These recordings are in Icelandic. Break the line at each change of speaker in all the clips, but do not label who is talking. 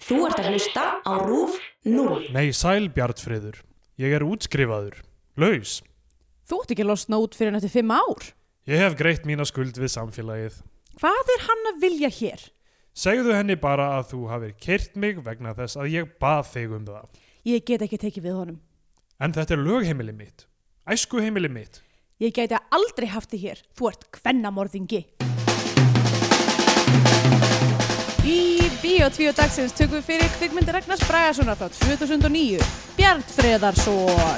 Þú ert að hlusta á RÚF 0.
Nei, sæl Bjartfriður. Ég er útskrifaður. Laus.
Þú átt ekki að losna út fyrir nættu fimm ár.
Ég hef greitt mína skuld við samfélagið.
Hvað er hann að vilja hér?
Segðu henni bara að þú hafir kyrt mig vegna þess að ég bað þig um það.
Ég get ekki tekið við honum.
En þetta er lögheimili mitt. Æsku heimili mitt.
Ég gæti aldrei haft þig hér. Þú ert kvennamorðingi. Í Bíó 2 dagsins tökum við fyrir kvikmyndi Ragnars Bragasonar frá 2009. Bjarn Freðarsson.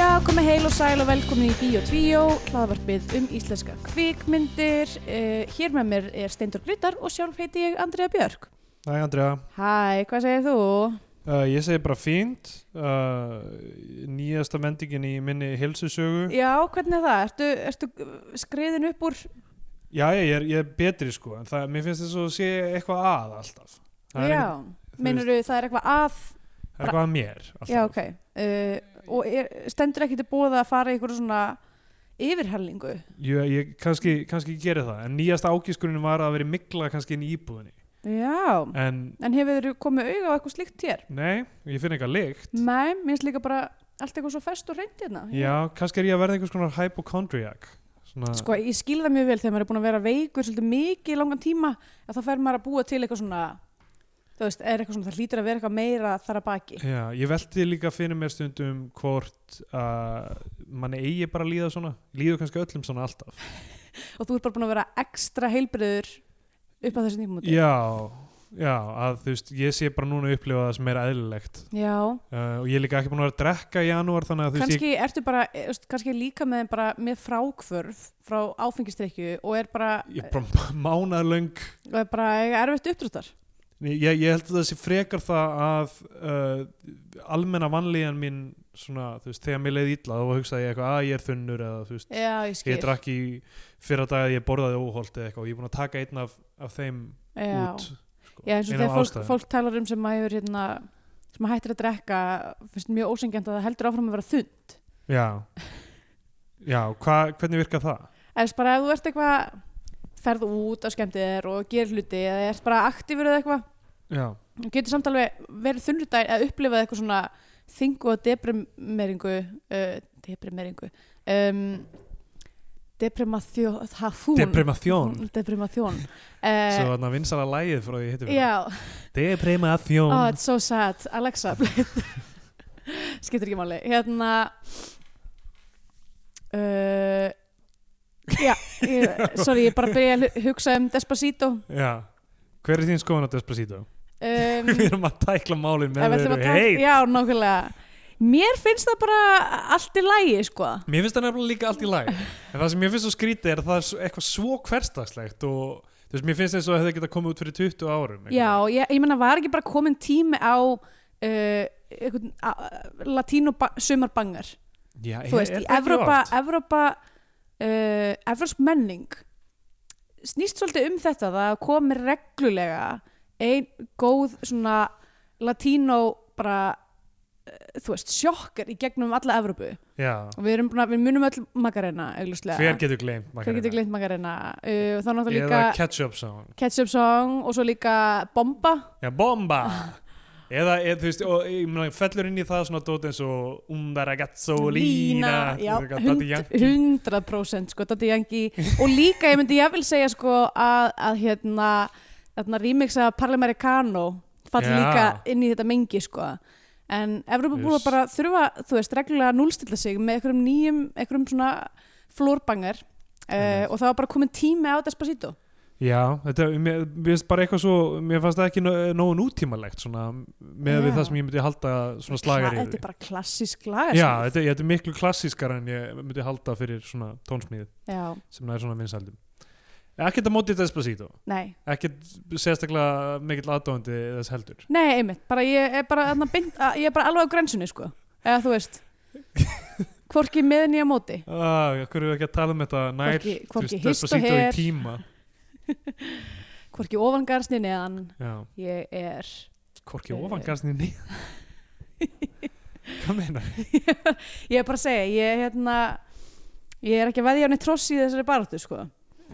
Já, komið heil og sæl og velkomin í Bíó 2, hlaðvarpið um íslenska kvikmyndir. Uh, hér með mér er Steindur Gryttar og sjálf heiti ég Andrea Björk.
Nei, Andrea.
Hæ, hvað segir þú?
Uh, ég segi bara fínt. Uh, nýjasta vendingin í minni hilsusögu.
Já, hvernig er það? Ertu, ertu skriðin upp úr?
Já, ég er, ég er betri sko. En það, mér finnst þess að sé eitthvað að alltaf. Það er
Já,
ekkert- þú
meinur þú það er eitthvað að?
það er eitthvað að mér. Alltaf.
Já, ok. Uh, og er, stendur ekki til bóða að fara í einhverju svona yfirhellingu?
Ég, ég kannski, kannski geri það, en nýjasta ágískunin var að vera mikla kannski inn í íbúðinni.
Já,
En
en hefur þú komið auga á eitthvað slíkt hér?
nei, ég finn eitthvað lykt.
Nei, mér finnst líka bara allt eitthvað svo fest og reynd hérna.
Já, kannski er ég að verða einhvers konar hypochondriac. Svona,
Sko, ég skil það mjög vel þegar maður er búin að vera veikur svolítið mikið í langan tíma að þá fer maður að búa til eitthvað svona þú veist, er eitthvað svona, það hlýtur að vera eitthvað meira þar að baki.
Já, ég velti líka fyrir mér stundum hvort að manni eigi bara að líða svona, líður kannski öllum svona alltaf.
Og þú ert bara búin að vera ekstra heilbriður upp að þessu tímúti.
Já, já, að þú veist, ég sé bara núna að upplifa það sem er eðlilegt
Já,
uh, og ég er líka ekki búin að vera að drekka í janúar þannig að þú veist,
kannski ertu bara, eh, þú veist, kannski líka með, bara, með frákvörf frá áfengistrekkju og er bara,
ég, ég er bara mánarlöng
og er bara eiga erfitt uppdrúttar.
Nei, Ég, ég held að það sé frekar það að uh, almenna vanlíðan mín svona, þú veist, þegar mér leið illa þá hugsaði ég eitthvað að ég er þunnur eða þú veist,
Já, ég skil.
ég drakk í fyrra dag að ég borðaði óholt eða eitthvað og ég er búin að taka einn af, af þeim
Já.
út sko,
Já, eins og
ein af
þegar fólk,
ástæðum.
fólk talar um sem maður hefur hérna, sem maður hættir að drekka, finnst mjög ósengjant að það heldur áfram að vera þunn.
Já, Já hva, hvernig virkar það?
eða bara ef þú ert eitthvað ferð út á skemmtið þér og gerir hluti eða ert bara aktífur eða eitthvað
Já,
og getur samt alveg verið þunnudæg eða upplifað eitthvað svona þingu og deprimeringu uh, deprimeringu um, deprimathjón
deprimathjón
deprimathjón
Svo
uh,
þarna vinsala lægið frá því ég hittum
já,
Deprimathjón
oh, it's so sad Alexa skiptir ekki máli hérna uh, já ég, sorry, ég bara byrja að hu- hugsa um Despacito
Já, hver er þín skoðan á Despacito?
um,
Við erum að tækla málin
ef
með
við ætlum að taka-
heit
já, nákvæmlega mér finnst það bara allt í lægi sko.
Mér finnst það nefnilega líka allt í lag En það sem mér finnst svo skrítið er að það er svo- eitthvað svo hverstagslegt og þú veist, mér finnst eins og það hefði getað komið út fyrir 20 árum
já, ég, ég meina var ekki bara komin tími á uh, einhvern, a, latínu sumarbangar
já
þú veist, í Evrópa Evrópa uh, Evrósk menning snýst svolítið um þetta það komir reglulega ein góð svona latínó bara eh, þú veist, sjokkar í gegnum alla Evrópu
Já,
og við, erum búin að, við munum öll Magarena augljóslega.
hver getur gleymt
Hver getur gleymt Magarena? Uh, og þá náttúrulega
Eða
líka
Ketchup Song
Ketchup Song og svo líka Bomba.
Já, Bomba Eða, eð, þú veist, og ég meina, fellur inn í það svona dót eins og Unda ragazzo lína
já,
þú veist, eitthvað, Daddy
hund-
Yankee.
100% sko, Daddy Yankee. og líka, ég myndi ég vil segja sko að, að hérna, hérna remixa Parlamericano falli
Já.
líka inn í þetta mengi sko. En Evrópa búið
Yes.
bara að þurfa, þú veist, reglulega að núlstilla sig með einhverjum nýjum, einhverjum svona flórbangar uh,
Einmitt.
og það var bara komin tími á Despacito.
Já, þetta, mér, mér finnst bara eitthvað svo mér fannst það ekki nó- nógu nútímalegt svona, með við
Já.
það sem ég myndi halda svona slagar
Þetta er bara klassísk sko. lagasmíð.
Já, þetta, þetta er miklu klassískar en ég myndi halda fyrir svona tónsmíð
Já,
sem það er svona vinsældum. Ekkert að móti Despacito,
nei.
ekkert sérstaklega mikill aðdóðandi þess heldur.
Nei, einmitt, bara ég er bara, þarna beint, að- ég er bara alveg á grensunni, sko. Eða þú veist, hvorki með nýja móti
Ah, Hverju erum við ekki að tala um þetta nær
Hvorki- hvorki
þú veist,
hist og
Despacito í
her.
tíma
hvorki ofangarsni neðan
Já,
ég er
hvorki
Eh.
ofangarsni nýð Hvað meina?
ég er bara að segja, ég er hérna ég er ekki að veðja hann í tross í þessari baráttu sko.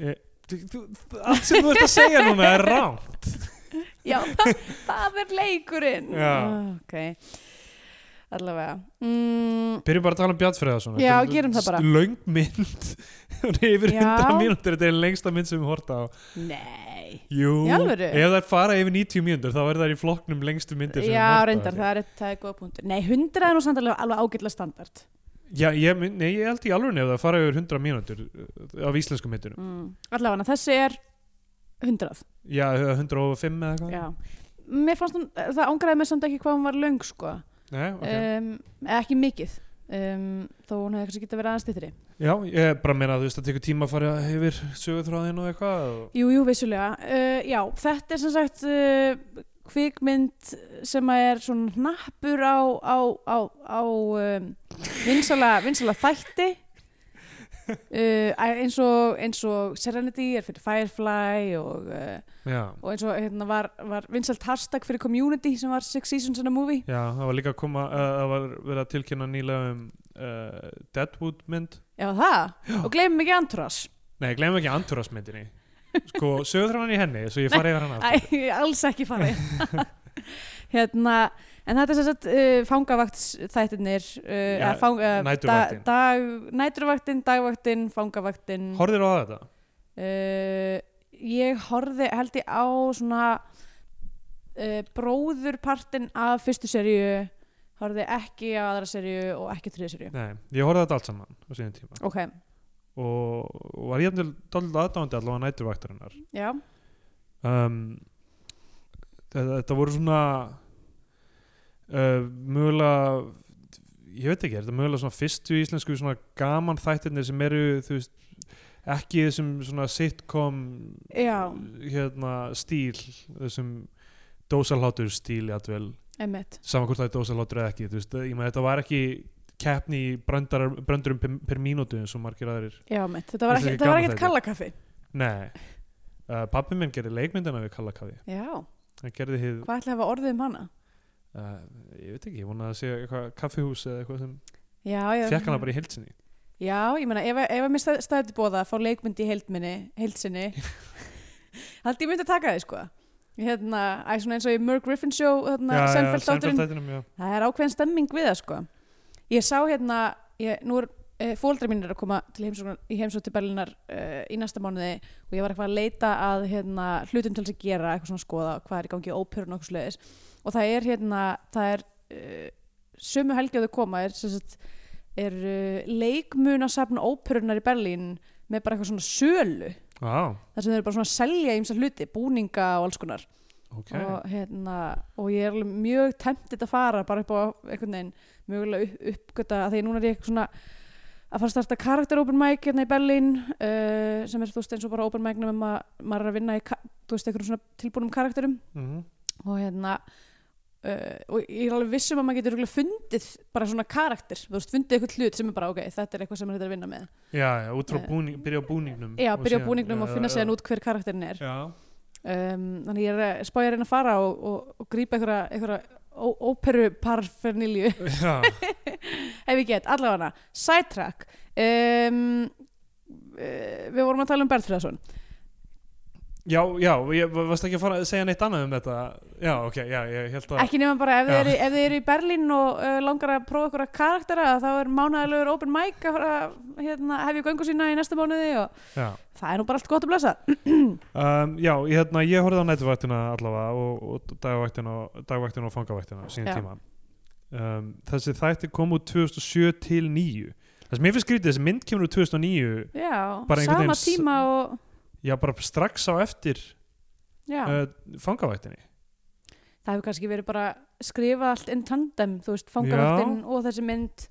Allt sem Eh, þú ert að segja núna er rámt
já, það, það er leikurinn
Já.
Ah, ok allavega mm,
Byrjum bara að tala um Bjartfriðarsson
Já, gerum það bara.
Löng mynd Hún er yfir
Já.
100 mínútur, þetta er lengsta mynd sem við horta á
nei
Jú,
Í alvöru?
ef þær fara yfir 90 mínútur þá er þær í flokknum lengstu myndir sem við
já,
horta
reyndar, það er, það er góða punktur nei, 100 er nú samt alveg, alveg ágætlega standard
Já, ég, mun- nei, ég held í alveg nefn að fara yfir 100 mínútur uh, af íslensku myndinu
mm. allavega, þessi er 100
Já, 105 eða eitthvað
já Mér fannst hún, eh, það ángraði mig samt ekki hvað hún var löng sko,
Nei, okay.
um, eða ekki mikið um, þó hún hefði kannski geta verið aðeins þittri
Já, ég bara meina að þú veist að tekur tíma að fara yfir sögutráðin og eitthvað og...
Jú, jú, vissulega. Uh, já, þetta er sem sagt uh, kvikmynd sem að er svona hnappur á, á, á, á um, vinsala, vinsala þætti uh, eins, og, eins og Serenity er fyrir Firefly og, uh,
Já,
og eins og hérna, var, var vinsalt hashtag fyrir Community sem var Six Seasons in a Movie.
já, það var líka að koma uh, það var verið að tilkynna nýlega um uh, Deadwood mynd
Já, það. Og gleymum ekki András.
Nei, glemum ekki Anturas myndinni Sko, sögutráðin í henni, svo ég fara yfir hana aftur.
Æ, alls ekki farið hérna, en þetta er sem sagt uh, fangavaktsþættinir uh,
Já,
eða fang, uh,
næturvaktin.
da, dag, næturvaktin, dagvaktin, fangavaktin
Horfðir á þetta?
uh, ég horfði held ég á svona uh, bróðurpartin af fyrstu serju horfði ekki á aðra serju og ekki þriðu serju
Nei, ég horfði á þetta allt saman á síðan tíma
ok,
og, og var ég dálítið aðdándi allavega næturvaktarinnar
já,
um, þetta, þetta voru svona uh, mögulega ég veit ekki, er þetta mögulega svona fyrstu íslensku svona gaman þættirnir sem eru þú veist, ekki í þessum svona sitcom
já
hérna stíl þessum dósalhátur stíl jafnvel,
einmitt,
saman hvort það er dósalhátur eða ekki, þú veist, ég maður þetta var ekki keppni í bröndar, bröndurum per, per mínútu eins og margir aðrir
já, einmitt. þetta var
Þetta er
ekki-
ekki
þetta var
gaman
ekkert
þættir.
kallakaffi
Nei, uh, pappi minn gerði leikmyndina við kallakaði,
já,
hann gerði hið
hvað ætla að hafa orðið um hana?
uh, ég veit ekki, ég vona að segja eitthvað kaffihús eða eitthvað sem
Já, já,
fekk hana bara í heilsinni
Já, ég meina, ef, ef að mér stað, staðið til bóða að fá leikmynd í heildminni, heildsinni haldi ég myndi að taka því, sko hérna, æ, svona eins og í Merk Griffin show hérna, Seinfeld þátturinn,
Seinfeld-þættinum, já.
það er ákveðin stemming við það, sko ég sá hérna, ég, nú er eh, fóldra mín er að koma til heimsókn í heimsókn til Berlínar eh, í næsta mánuði og ég var eitthvað að leita að hérna, hlutum til þess að gera, eitthvað svona að skoða hvað er í gangi í óperun og okkur sluðis og það er hérna, það er uh, sömu helgi að þau koma er, sem sagt, er uh, leikmunasafn óperunar í Berlín með bara eitthvað svona sölu
Vá,
þar sem þau eru bara svona að selja ymsa hluti, búninga og alls konar
ok
og, hérna, og ég er alveg mjög temptið að fara bara upp á einhvern veginn mögulega upp, uppgöta að því að núna er ég svona að fara að starta karakter open mic hérna í Berlín uh, sem er þú veist eins og bara open mic nema ma maður er að vinna í ka- þú veist einhverjum svona tilbúnum karakterum
Mhm.
og hérna uh, og ég er alveg vissum að maður getur örugglega fundið bara svona karakter, þú veist, fundið eitthvað hlut sem er bara, ok, þetta er eitthvað sem maður getur að vinna með
Já, já, út frá
Eh,
búning, byrja á búningnum
já, byrja á
síðan-
búningnum og
já,
finna
já,
síðan út hver karakterin er
Já,
um, þannig ég er að spá ég að reyna að fara og, og, og grípa einhverja, einhverja óperu parfernilju
já,
ef ég get, allavega hana, sidetrack um, uh, við vorum að tala um Bertfriðarsson
já, já, ég varst ekki að fara að segja neitt annað um þetta Já, ok, já, ég held að
ekki nema bara ef þið,
Já.
eru, ef þið eru í Berlín og uh, langar að prófa ykkur að karaktera þá er mánæðilegur open mic að fara, hérna, hefja göngu sína í næsta mánuði og
Já,
það er nú bara allt gott að blessa
um, já ég, hérna, ég horfði á nætuvaktina allavega og, og dagvaktina, og- dagvaktina og fangavaktina á síðan
Já.
tíma um, Þessi þætti kom út 2007 til 9 Það sem ég finnst skrítið, þessi mynd kemur úr 2009
já,
Bara einhvern
sama
veginn s-
tíma og
Já, bara strax á eftir
já,
uh, fangavættinni.
það hefur kannski verið bara skrifað allt in tandem, þú veist, fangavaktinn og þessi mynd,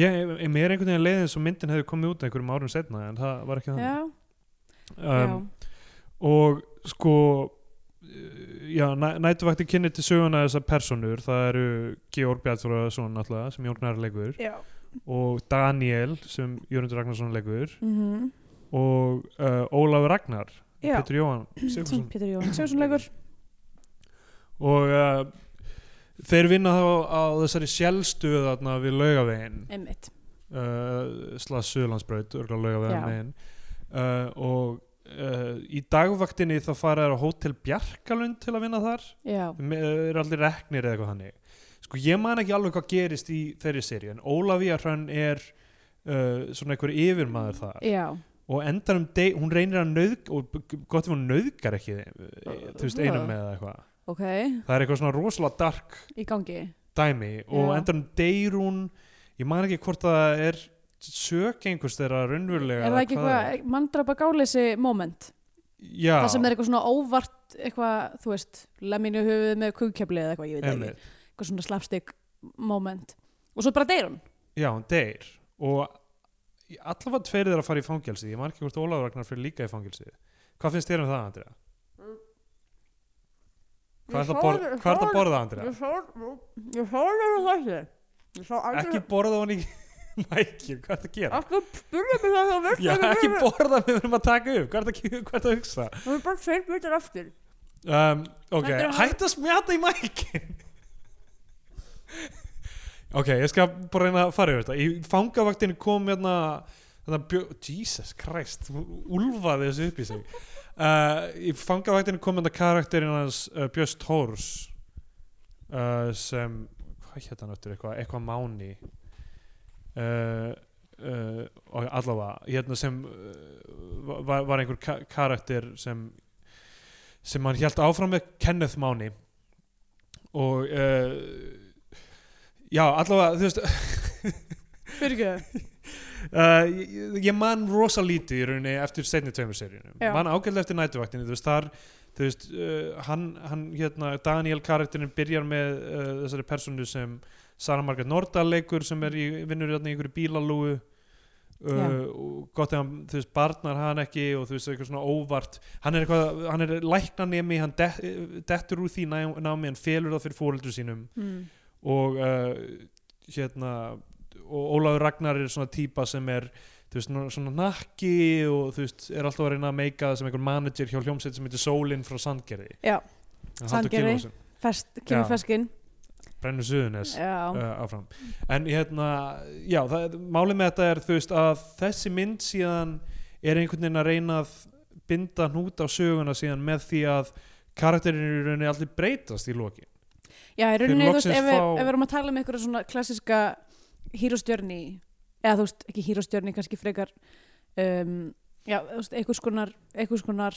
Ég, ég- mér er einhvern veginn leiðin svo myndin hefði komið út einhverjum árum setna en það var ekki þannig.
já,
Um, og sko, uh, já, næ, nætuvaktin kynni til söguna þessar personur, það eru Georg Bjartfóraðsson náttúrulega sem Jón Gnarr leikur
já já,
og Daniel sem Jörgundur Ragnarsson leikur
mm -hmm.
og uh, Ólafur Ragnar
Já.
Pétur Jóhann Sigurðsson
Pétur Jón Sigursson leikur
og uh, þeir vinna þá á þessari sjálfstöð þarna við laugavegin
einmitt
uh, slags Suðlandsbraut örgulega
Já.
laugavegin megin uh, og uh, í dagvaktinni þá fara þær á Hótel Bjarkalund til að vinna þar
já,
Me- eru allir reknir eða eitthvað þannig sko ég man ekki alveg hvað gerist í þeirri seríu en Ólafía Hrönn er uh, svona einhver yfirmaður þar
já.
og endar um deg, hún reynir að nauðg og b- gott ef hún nauðgar ekki þeim, eh, þú veist einum með eða eitthvað
ok,
það er eitthvað svona rosalega dark
í gangi
dæmi og
Já.
endar um deyr hún ég man ekki hvort það er sök einhvers þeirra raunverulega
er það
eða
ekki
hvað það
eitthvað manndrapa gáleysi moment
já,
það sem er eitthvað svona óvart eitthvað, þú veist, lemminu höfuð með kugkefli eða eitthvað, ég veit það
einmitt.
ekki eitthvað svona slapstick moment og svo bara deyr hún
Já, hún deyr og í- allavega tveir þeirra fara í fangelsið ég man ekki hvort Ólafur Ragnar fyrir líka í fangelsið Hvað finnst þér um það, Andrea? Hvað er það að borða, hvað ertu að borða Andrea?
ég hólar um þessi ég sá
Ekki borða hún í mækju, hvað er það að gera?
Akkur spurði mig það þá
Já, ekki borða við verum að taka upp, hvað er það að, hvað er það að hugsa?
Það er bara tveir bitar aftur
Um, ok,
Þetta er hálf-
hætt að smjata í mækin Ok, ég skal bara reyna að fara yfir þetta Í fangavaktinu kom hérna þetta bjó, Jesus Christ hún Úlfaði þessu upp í sig uh, Í fangavaktinu kom hérna karakterinn hans uh, Björst Hórs uh, sem hvað hétt hann öttur, eitthvað, eitthvað máni uh, uh, og allavega, hérna sem uh, var, var einhver ka karakter sem sem hann hjælt áfram með Kenneth Máni og uh, já, allavega þú veist,
Fyrir ekki
uh, ég, ég man rosa lítið í rauninni eftir setni tveimur seríunum
Já.
man ágæðlega eftir nætuvaktinu, þú veist, þar þú veist, uh, hann, hann hérna Daniel karakterinn byrjar með uh, þessari personu sem Sara Margaret Nordahl leikur sem er í, vinnur hérna í einhverju bílalúu Uh,
Já.
og gott ef hann, þú veist, barnar hann ekki og þú veist, eitthvað svona óvart hann er eitthvað, hann er læknanemi hann det, dettur úr því ná- námi hann felur það fyrir fóreldur sínum
mm.
og uh, hérna og Ólafur Ragnar er svona típa sem er þú veist, svona- svona nakki og þú veist, er alltaf að reyna að meika það sem einhver manager hjá hljómsveit sem heitir Sólin frá Sandgerði
Já.
Halldór
Sandgerði.
Gylfason,
Fest,
Já.
kemur feskin
Brennur Suðunes
Já,
uh, áfram en hérna, já, það, málið með þetta er þú veist að þessi mynd síðan er einhvern veginn að reyna að binda hnút á söguna síðan með því að karakterin í rauninni allir breytast í lokin
já í
Þeir
rauninni, þú veist,
loksins
ef, við-
fá-
ef við erum að tala um einhverja svona klassiska hýrostjörni eða þú veist, ekki hýrostjörni, kannski frekar um, já, þú veist, einhvers konar einhvers konar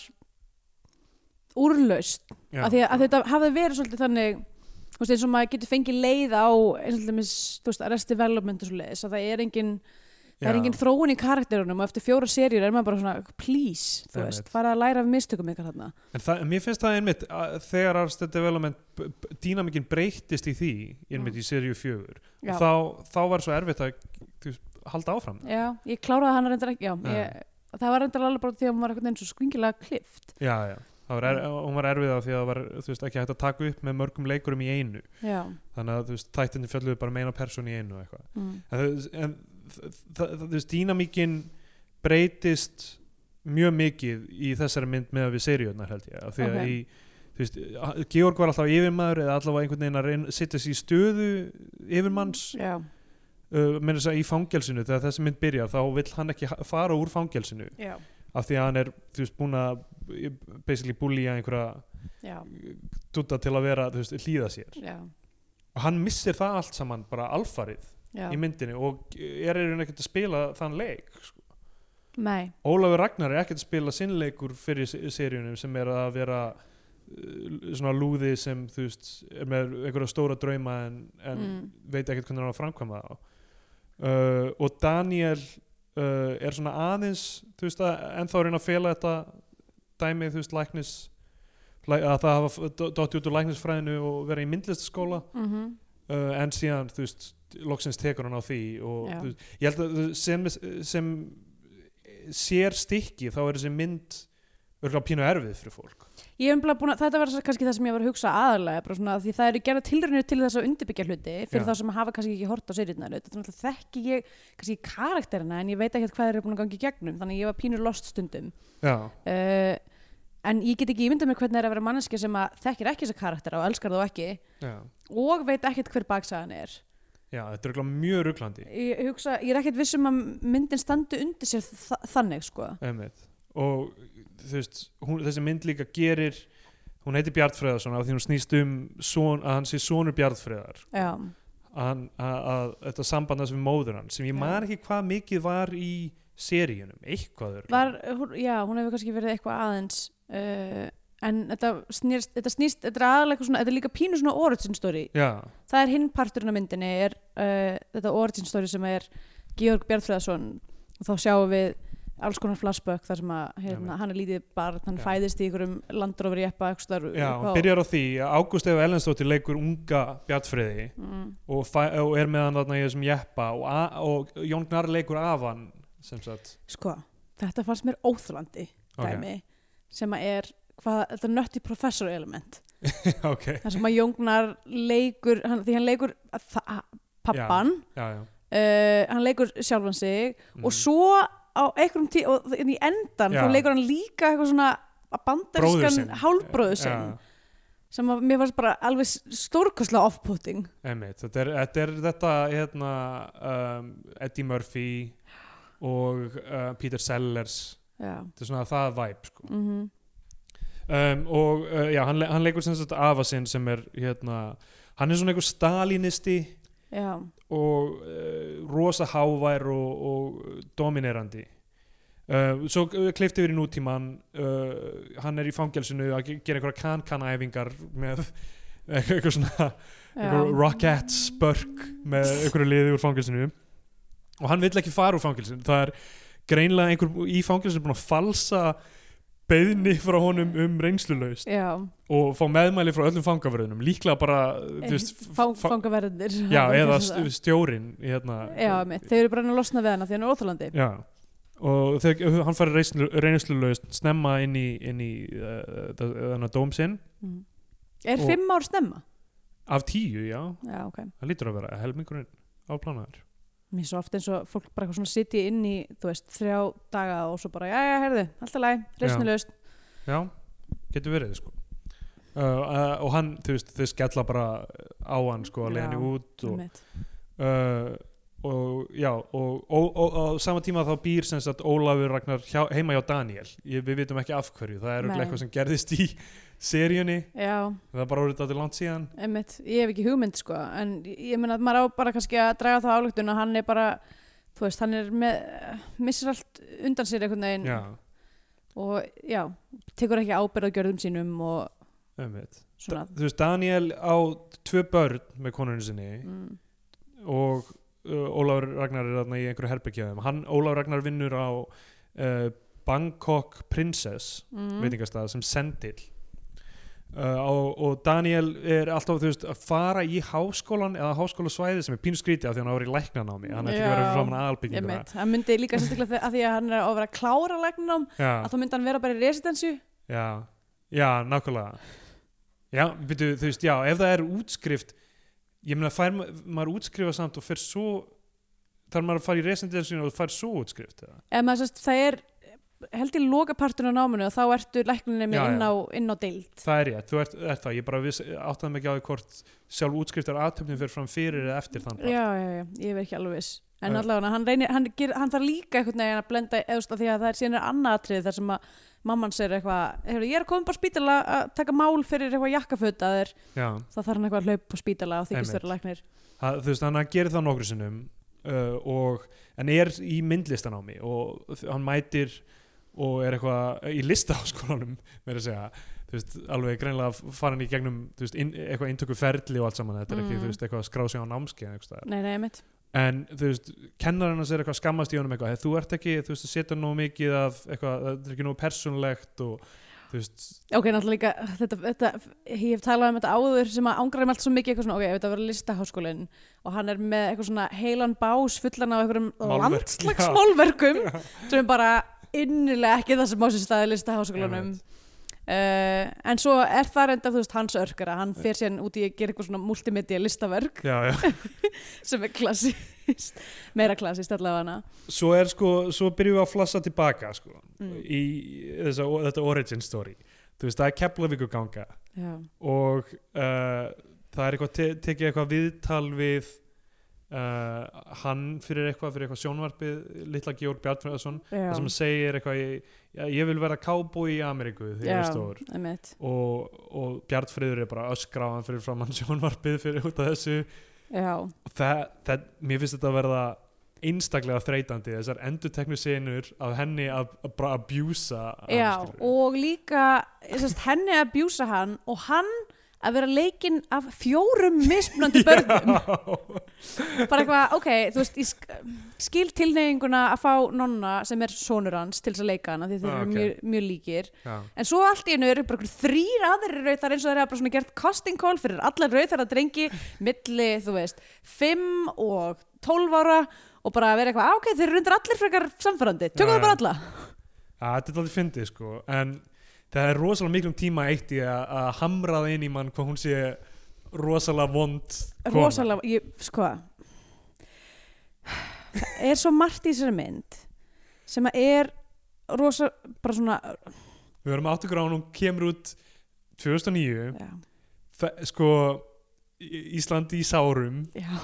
úrlaust
Já.
af því að, að þetta hafði verið svolítið þannig þú veist, eins og maður getur fengið leið á eins og dæmis, þú veist, arrest development og svo leiðis, að það er engin það
Já.
er engin þróun í karakterunum og eftir fjóra serjur er maður bara svona, please, þú
Einmitt.
veist, fara að læra af mistökum ykkar þarna
En það, en mér finnst það einmitt að þegar Arrested Development b- b- dýnamikinn breyttist í því einmitt í seríu fjögur
Já.
þá, þá var svo erfitt að þú veist, halda áfram já,
Já, ég kláraði hann reyndar ekki, já,
Já.
ég, það var reyndar alveg bara því að hún var einhvern veginn svo skringilega klift
já, það var er, hún var erfið af því að það var þú veist, ekki hægt að taka upp með mörgum leikurum í einu
Já,
þannig að þú veist, tættinni fjalluðu bara meina persón í einu og eitthvað.
mm.
en, það, en það, það, þú veist, dýnamikinn breytist mjög mikið í þessari mynd með að við seríunar held ég af því að
Ok.
í, þú veist, að- Georg var alltaf yfirmaður eða allavega einhvern veginn að reyna, setja sér í stöðu yfirmanns
já,
uh, meira þess að í fangelsinu þegar þessi mynd byrjar þá vill hann ekki ha- fara úr fangelsinu
já,
af því að hann er þú veist búin að basically búlja einhverja
já,
dutta til að vera þú veist, hlýða sér
já,
og hann missir það allt saman bara alfarið
já.
í myndinni og er einhvern ekkert að spila þann leik sko.
Nei,
Ólafur Ragnar er ekkert að spila sinnleikur fyrir se- seríunum sem er að vera uh, svona lúði sem þú veist er með einhverja stóra drauma en, en
Mm.
veit ekkert hvernig hann á að framkvæma það uh, og Daniel uh, er svona aðeins þú veist að ennþá er hann að fela þetta dæmi þú veist læknis læ- að það hafa dotti út úr læknisfræðinu og vera í myndlistaskóla
mm
uh, en síðan þú veist loksins tekur hann á því og
Já.
þú veist, ég held að þú- sem, sem sér stykki þá er þessi mynd örgulega pínu erfið fyrir fólk
Ég hef umlað búin að, þetta var svo- kannski það sem ég var að hugsa aðalega, bara svona, því það eru gerða tilraunir til þess að undirbyggja hluti fyrir
Já.
þá sem hafa kannski ekki hort á seriðnar, þetta er náttúrulega þekki ég kannski karakterina en ég veit ekki hvað þeir eru búin að gangi gegnum, þannig að ég var pínur lost stundum.
Já,
Uh, en ég get ekki ímyndað mér hvernig það er að vera manneskja sem að þekkir ekki þessa karaktera og elskar þá ekki
já,
og veit ekkert hver baksagan er.
já, þetta er örgulega mjög ruglandi
Ég, hugsa, ég er ekkert viss um að myndin standi undir sér þa þannig, sko.
Einmitt. og þú veist, hún, þessi mynd líka gerir hún heitir Bjartfreðarsson af því hún snýst um son, að hann sé sonur Bjartfreðar
Já,
að, hann- að, að þetta samband hans við móður hann sem ég
Já.
man ekki hvað mikið var í seríunum, eitthvað örugglega.
var, hún- já hún hefur kannski verið eitthvað aðeins uh, en þetta snýst, þetta snýst þetta er aðalega eitthvað svona, þetta er líka pínu svona origin story
já,
það er hinn parturinn af myndinni er uh, þetta origin story sem er Georg Bjartfræðarsson og þá sjáum við alls konar flashback þar sem að hérna,
Einmitt.
hann er lítið barn, hann
Já.
fæðist í einhverjum landrófur jeppa eitthvað
já, hann byrjar á því að Ágúst Eva Ellensdóttir leikur unga Bjartfreði
mm,
og, fæ- og er með hann þarna í þessum jeppa og, a- og Jón Gnar leikur af hann sem sagt
sko, þetta fannst mér óþlandi
Ok.
dæmi sem að er hvað, þetta er nötti professor element
ok,
þar sem að Jóngnar leikur hann, því hann leikur að þa- að pappan
já, já
uh, hann leikur sjálfan sig
Mm.
og svo á einhverjum tí og þ- í endan
Já.
þá leikur hann líka eitthvað svona að
Bróður sinn.
bandarískan hálbróðu sinn
Já.
sem að mér fannst bara alveg stórkoslega off-putting
Einmitt, þetta er þetta, er þetta hérna, um, Eddie Murphy og uh, Peter Sellers
já.
þetta er svona það væp sko.
Mm
um, og uh, já, hann, le hann leikur sem sagt afa sinn sem er hérna, hann er svona einhver stalinisti
já.
og uh, rosa hávær og, og dominerandi uh, svo klifti við í nútíman uh, hann er í fangelsinu að ge- gera einhverja kan-kan-æfingar með eitthvað svona
já.
Rocket Spurk með einhverju liði úr fangilsinu og hann vill ekki fara úr fangilsinu það er greinlega einhver í fangilsinu búin að falsa beðni frá honum um reynslulaust
já.
og fá meðmæli frá öllum fangavörðunum líklega bara þú veist,
Fang,
fa-
fangaverðinir
já, eða
já,
st- stjórinn hérna,
einmitt. þeir eru bara að losna við hana því hann er óþalandi
já og þegar hann fari reynslulaust snemma inn í, inn í uh, þannig að dóm sinn
mm. er
Og-
fimm ár snemma?
af tíu, já,
já, ok
það lítur að vera helmingurinn áplanaður
Mér er svo oft eins og fólk bara eitthvað svona sitji inn í, þú veist, þrjá daga og svo bara, já, já, herðu, alltaf læg, reysnilegust.
Já, getur verið sko. uh, uh, og hann, þú veist, þau skella bara á hann sko, að leiða
Já,
henni út og, uh, og já, og, og, og, og á sama tíma þá býr sem sagt Ólafur Ragnar hjá, heima hjá Daniel ég, við vitum ekki af hverju, það er
Nei.
örugglega eitthvað sem gerðist í seríunni,
Já,
það er bara orðið þetta langt síðan
einmitt, ég hef ekki hugmynd, sko, en ég meina að maður á bara kannski að draga það álugtun að hann er bara, þú veist, hann er með, missir allt undan sér einhvern veginn
já,
og, já, tekur ekki ábyrð á gjörðum sínum og
umveit
svona.
þú veist, Daniel á tvö börn með konunni sinni
Mm,
og uh, Ólafur Ragnar er þarna í einhverju herbyggjaðum hann, Ólafur Ragnar vinnur á uh, Bangkok Princess
mm,
veitingastað sem sendil uh, og, og Daniel er alltaf þú veist, að fara í háskólan eða háskólasvæði sem er pínu skrítið af því hann ári í læknanámi hann ætti ekki að vera
Já,
fyrir framan aðalbygginguna
Einmitt, hann myndi líka sérstaklega þe- að því að hann er að vera að klára læknum, að
já,
þá myndi hann vera bara í residensju.
já, já, nákvæmlega já, byrju, þú veist, já, ef það er útskrift ég meina, fær ma- maður útskrifa samt og fer svo þarf maður að fara í residensinu og fær svo útskrift eða?
ef maður sérst, það er held ég loka parturinn á náminu og þá ertu lækninni
Já,
með inn
já.
á, inn á deild
það er rétt, þú ert, ert það, ég bara viss, áttaði mig ekki á því hvort sjálf útskriftar aðtöfnum fyrir fram fyrir eða eftir þann part.
já, já, já, ég verð ekki alveg viss en
Já.
allavega hann, reynir, hann, ger, hann þarf líka einhvern veginn að blenda eðust af því að það er síðan er annað atrið þar sem að mamman sér eitthvað "Heyrðu, ég er að koma upp á spítala að taka mál fyrir eitthvað jakkaföt að þér
Já,
þá þarf hann eitthvað að hlaupa á spítala og þykist
Einmitt.
vera læknir
það, þú veist, hann gerir það nokkru sinnum uh, og, en er í myndlistanámi og þ- hann mætir og er eitthvað í listaháskólanum, verður að segja, þú veist, alveg greinlega farin í gegnum, þú veist, inn, eitthvað inntöku ferli og allt saman, þetta er ekki,
Mm.
þú veist, eitthvað að skrá sig á námskeið eða eitthvað.
nei, nei, mitt
en þú veist, kennarinn hans er eitthvað að skammast í honum eitthvað, "Hey, þú ert ekki, þú veist, að setja nóg mikið af eitthvað, það er ekki nóg persónlegt og þú veist,
Ok, náttúrulega líka, þetta, þetta, ég hef talað um þetta áður sem að ángraði með allt svo mikið eitthvað svona, ok, ef þetta var listaháskólinn og hann er með eitthvað svona heilan bás fullan af einhverjum
Málverk,
landslagsmálverkum sem er bara, innilega ekki það sem á sér staði lista háskólanum uh, en svo er það reynda þú veist hans örkara, hann fer sérn út í að gera eitthvað svona multimedia listaverk
já, já.
sem er klassist meira klassist allavega hana
svo er sko, svo byrjum við að flassa tilbaka sko,
Mm.
í þessa, þetta origin story þú veist, það er Keflavíku ganga
já,
og uh, það er eitthvað te tekið eitthvað viðtal við uh, hann fyrir eitthvað, fyrir eitthvað sjónvarpið litla Georg Bjarnfjörðarsson
já,
það sem hann segir eitthvað ég, já, ég vil vera cowboy í Ameríku þegar ég er stór
einmitt
og, og Bjartfriður er bara að öskra á hann fyrir framann sjónvarpið fyrir út af þessu
já,
og það, það, mér finnst þetta að verða einstaklega þreytandi þessar enduteknu senur af henni að, að bara abjúsa
já og líka sest, henni að bjúsa hann og hann að vera leikinn af fjórum mismunandi börnum
börnum
bara eitthvað, ok, þú veist ég sk- skil tilneyinguna að fá nonna sem er sonur hans til þess að leika hana því þeir
Ah,
eru
ok.
mjög, mjög líkir
já.
en svo allt í einu eru bara þrýr aðrir rauðar eins og þeir hafa bara svona gert casting call fyrir allar rauðar að drengi milli, þú veist, 5 og 12 ára og bara vera eitthvað, "Ah, ok, þeir eru undir allir frekar samfærandi, tökum
Já,
það bara
já.
alla
Já, þetta er alltaf fyndið sko en það er rosalega miklum tíma eitt í að, að hamra það inn í mann hvað hún sé rosalega vond kona.
rosalega, ég, sko það er svo margt í þessari mynd sem að er rosa, bara svona
Við verðum átt ykkur á hún, hún kemur út 2009
já,
Þa- sko Í- Ísland í sárum
já,